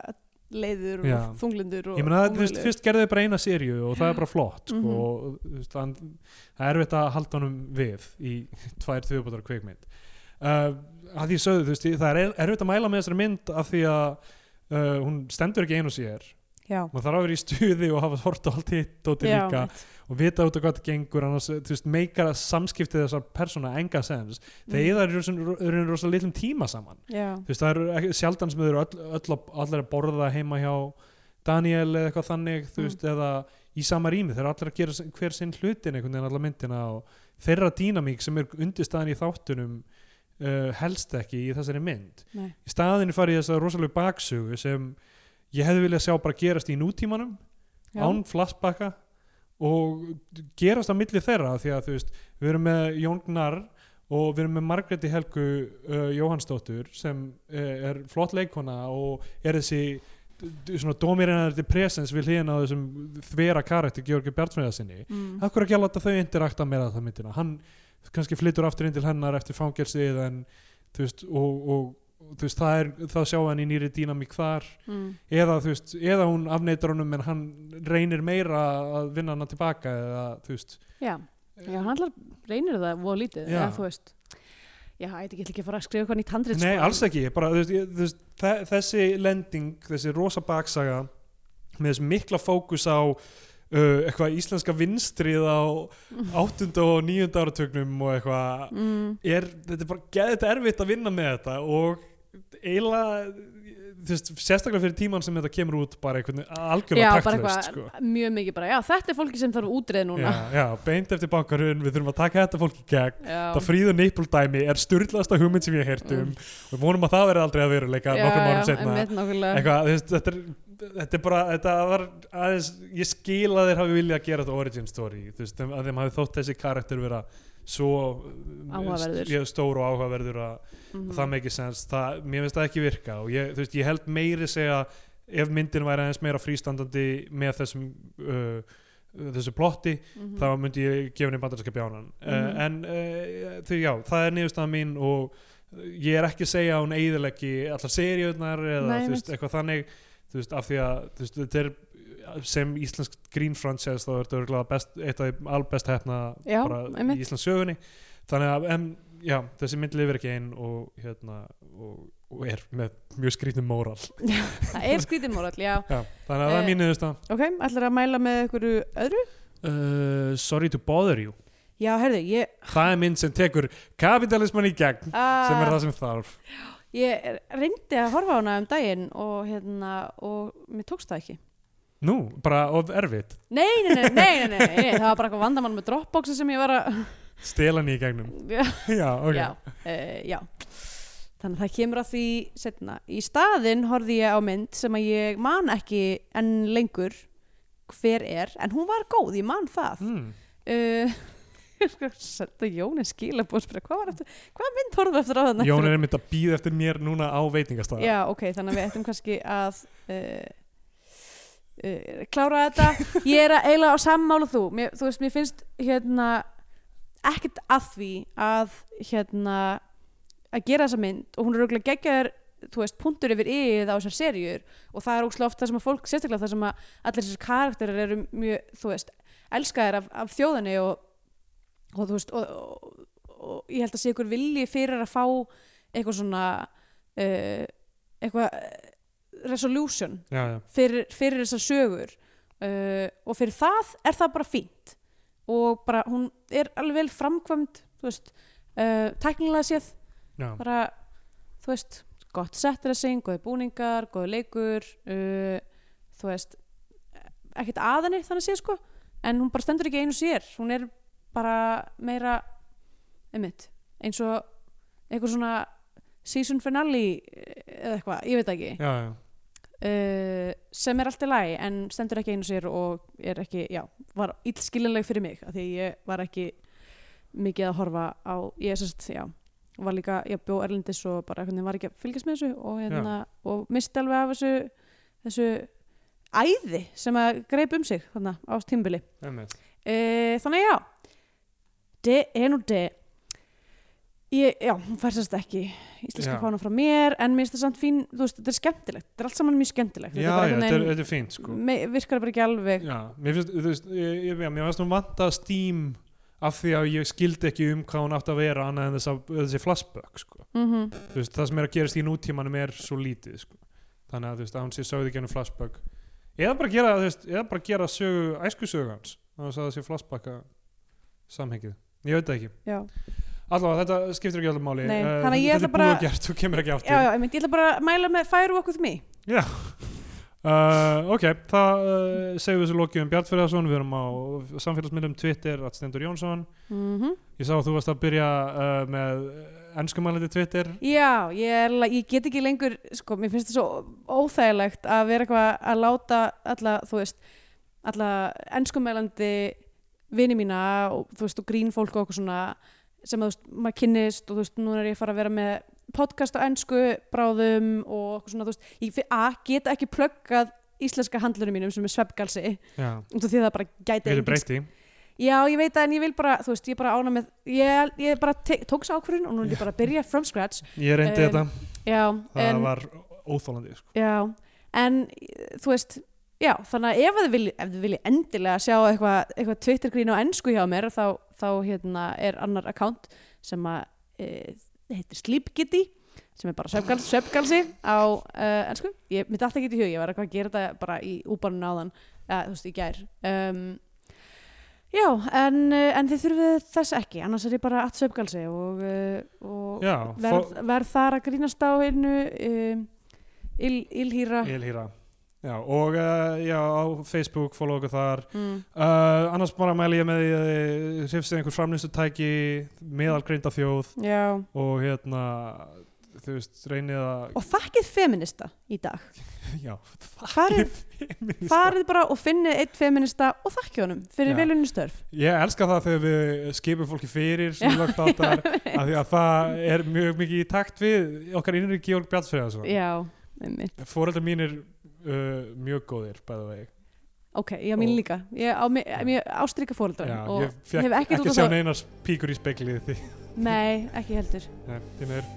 leiður og
Já.
þunglindur og
ég meina að þú veist,
ómögulegur.
fyrst gerðu þau bara eina seríu og það er bara flott sko,
Mhm.
og þú veist, hann, það er erfitt að halda honum við í tvær þjóðbótar kveikmynd uh, að því sögðu, þú veist, ég- það er erfitt að mæla með þessari mynd af því að uh, hún stendur ekki einu sér
já,
maður þarf að vera í stuði og hafa hort á allt hitt og
já,
líka
mitt.
og vita út af hvað það gengur annars, þú veist, meikar að samskipti þessar persóna enga sens,
Mhm.
þegar mm. það eru eru rosa litlum tíma saman
já,
þú veist, það eru ekki- sjaldan sem þau eru öll, öll, að- allir að borða heima hjá Daniel eða eitthvað þannig, þú
Mm.
veist, eða í sama rými, þeir eru allir að gera sin- hver sinn hlutin einhvern veginn alla myndina og þeirra dýnamík sem er undirstaðan í þáttunum uh, helst ekki í þessari mynd
Nei.
í staðinu farið þess að rosalegu baksugu sem ég hefði viljað sjá bara gerast í nútímanum
já,
án flashbacka og gerast á milli þeirra því að þú veist, við erum með Jón Gnarr og við erum með Margréti Helgu uh, Jóhansdóttur sem uh, er flott leikona og er þessi d- d- svona dómirinarði presens við hliðina á þessum þvera karakter Georgi Bjartsmeða sinni
mm,
af hverju ekki að láta þau interakta meira það myndina hann kannski flyttur aftur inn til hennar eftir fangelsið en þú veist og, og, og þú veist það er það sjá hann í nýri dýnamík þar
mm,
eða þú veist eða hún afneitar honum en hann reynir meira að vinna hana tilbaka eða þú veist
já, já, hann allar reynir það voða lítið,
Já.
eða þú veist já, ég ætti ekki að fara að skrifa eitthvað nýtt sko. handrið
Nei, alls ekki, bara þú veist, ég- þú veist, þe- þessi lending, þessi rosa baksaga með þessi mikla fókus á uh, eitthvað íslenska vinstrið á 8. og 9. áratögnum og eitthvað
mm,
er, þetta er bara geðið erfitt að vinna með þetta og eiginlega þú veist, sérstaklega fyrir tíman sem þetta kemur út bara einhvern veginn
já,
algjörlega
bara
taktlust
eitthvað,
sko.
mjög mikið bara já, þetta er fólki sem þarf útrið
já,
núna
já, beint eftir bankarun við þurfum að taka þetta fólk í gegn
já,
Það fríðu neipuldæmi er styrlaðasta hugmynd sem ég hef heyrt um
Mm.
og við vonum að það verði aldrei að veruleika nokkrum árum setna
einmitt nákvæmlega.
eitthvað, þú veist, þetta, er, þetta er bara þetta var aðeins, ég skil að þeir hafi viljað að gera þetta origin story þú veist, þeim- að þeim hafi þótt þessi karakter vera svo
Áhugaverður.
ég, stór og áhugaverður að
Mhm.
það make sense, það, mér finnst það ekki virka og ég, þú veist, ég held meiri segja ef myndin væri aðeins meira frístandandi með þessum uh, þessu plotti,
Mhm.
þá myndi ég gefa henni bandarinska bjánan
Mhm.
uh, en uh, því já, það er niðurstaða mín og ég er ekki að segja að hún eiðilegi allar seriurnar eða
Nei,
þú veist, eitthvað þannig þú veist, af því að þú veist, þetta er sem íslensk green franchise þá er þetta örugglega best, eitt af því albest hefna
Já,
bara
einmitt.
í íslensk sögunni þannig að, en já, þessi mynd lifir ekki einn og hérna og, og er með mjög skrýtnum móral
það er skrítið mórall, já
já, þannig að það
Eh,
er mín niðurstaða
ok, ætlar að mæla með einhverju öðru?
uh, Sorry to bother you
já, herðu, ég
það er mynd sem tekur kapitalisman í gegn sem er
uh,
það sem þarf
ég reyndi að horfa á hana um daginn og hérna, og mér tókst það ekki
nú, bara of erfitt
nei, nei, nei, nei, nei, nei, nei, nei. það var bara eitthvað vandamál með Dropboxi sem ég var að
stela hann í gegnum
já,
já, ok
já, uh, já þannig að það kemur að því setna í staðinn horfði ég á mynd sem að ég man ekki enn lengur hver er, en hún var góð, ég man það
Mm.
uh, Senda Jóni skilabóð spyrir, hvað var eftir, hvað mynd horfðu eftir á þannig?
Jón er einmitt að býða eftir mér núna á veitingastað
Já, ok, þannig að við ættum kannski að uh, uh, klára þetta. Ég er að eiginlega á sammála þú. Mér, þú veist, mér finnst hérna ekkert að því að hérna að gera þessa mynd og hún er auðvitað geggjaður þú veist, punktur yfir yfir á þessar serjur og það er ókslega oft það sem að fólk sérstaklega það sem að allir þessar karakterar eru mjög, þú veist, elskaðir af, af þjóðinni og, og þú veist og, og, og ég held að sé ykkur vilji fyrir að fá eitthvað svona uh, eitthvað eh, resolution
já, já.
fyrir, fyrir þessar sögur uh, og fyrir það er það bara fínt og bara hún er alveg vel framkvæmd þú veist, uh, tæknilega séð
Já.
bara, þú veist gott setdressing, góði búningar, góði leikur uh, þú veist ekkert að henni þannig séð sko en hún bara stendur ekki einu sér hún er bara meira einmitt, eins og eitthvað svona season finale eh, eða eitthvað, ég veit það ekki
Já, já.
uh, sem er allt í lagi en stendur ekki einu sér og er ekki, já, var illskiljanleg fyrir mig af því ég var ekki mikið að horfa á, ég sérst, já var líka, ég bjó Erlendis og bara hvernig var ekki að fylgjast með þessu og, hérna, og misti alveg af þessu þessu æði sem að greip um sig þarna á tímbili
einmitt.
uh, þannig að já D, en og D ég, já, hún fær sérst ekki íslenska
Já.
fána frá mér en mér finnst það samt fín, þú veist, þetta er skemmtilegt þetta er allt saman mjög
já,
skemmtilegt
já, þetta er, þetta er fínt sko.
me, virkar bara ekki alveg
já, mér finnst, þú veist ég, ég, já, mér finnst nú vanta stím af því að ég skildi ekki um hvað hún átt að vera annað en þessa, þessi flashback sko.
mm
Þú veist, það sem er að gerast í nútímanum er svo lítið sko. þannig að þú veist, að hún sé sögð í genum flashback eða bara gera, þú veist, eða bara gera sögu, æskusögu hans þannig að það sé flashbacka samhengið ég veit það ekki,
já,
allavega þetta skiptir ekki alveg máli
Nei,
Eh,
þannig að ég
þetta
ætla
er
bara-
búið gert, þú kemur ekki
já,
aftur
já, einmitt, ég ætla bara að mæla með Firewalk with me
Uh, ok, það uh, segjum við þessu lokið um Bjartfjörðarsson, við erum á samfélagsmiðlum Twitter, að Stendur Jónsson
mm
ég sá að þú varst að byrja uh, með ennskumælandi Twitter
Já, ég, er, la- ég get ekki lengur sko, mér finnst það svo óþægilegt að vera eitthvað að láta alla, þú veist, alla enskumælandi vini mína og þú veist, og grín fólk og okkur svona sem að þú veist, maður kynnist og þú veist, núna er ég að fara að vera með podcast á ensku bráðum og okkur svona, þú veist, ég fi- a, get ekki plöggað íslenska handlunum mínum sem er sveppgalsi,
já,
út af því að það bara gæti
við erum
enginn-
breytti
Já, ég veit það, en ég vil bara, þú veist, ég er bara ána með, ég, ég bara te- tók sá ákvörðun og nú er ég bara að byrja from scratch
ég reyndi
Um,
þetta,
Já,
það
en,
var óþólandi sko.
Já, en eh, þú veist, já, þannig að ef þið vilji, ef þið vilji endilega sjá eitthvað eitthva Twitter-grín á ennsku hjá mér þá, þá hérna, er annar account sem að, e, heitir Sleepgitty sem er bara svefgalsi, svefgalsi á uh, ennsku. Ég myndi alltaf ekki í hug, ég var eitthvað að gera þetta bara í úbarnun áðan, eða, þú veist, í gær. Um, já, en, eh, en þið þurfið þess ekki, annars er ég bara allt svefgalsi og, uh, og
já,
verð, verð þar að grínast á einu um, il, ilhýra
Elhýra Já, og uh, já, á Facebook follow okkur þar
mm.
uh, annars bara mæli ég með því að þið hrifsið einhver framlýstutæki meðalgreinda þjóð
já
og hérna þú veist, reynið að
og þakkið feminista í dag
já,
farið,
feminista.
farið bara og finnið eitt feminista og þakkið honum fyrir
Já.
velunni störf
ég elska það þegar við skipum fólki fyrir sem lagt áttar af því að það er mjög mikið í takt við okkar innri Georg Bjartsfriðarsson
já, einmitt.
fóreldar mínir uh, mjög góðir bæða vegi
ok, já mín
Og-
líka ég á mi- mjög ástrika fóreldra
já,
og
ég fekk
hef
ekki,
ekkert
ekki
út
sjá
á það
neinar píkur í speklið því
nei, ekki heldur
Nei, því miður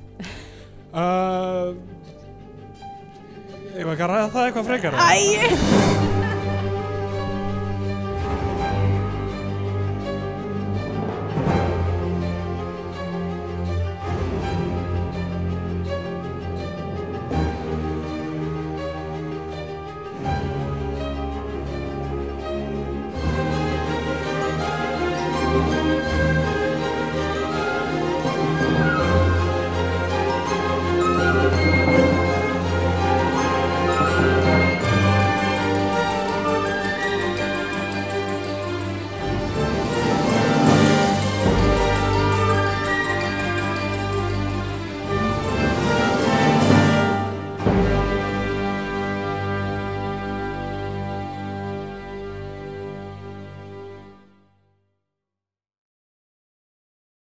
uh, Ég var ekki að ræða það eitthvað frekar eða?
æj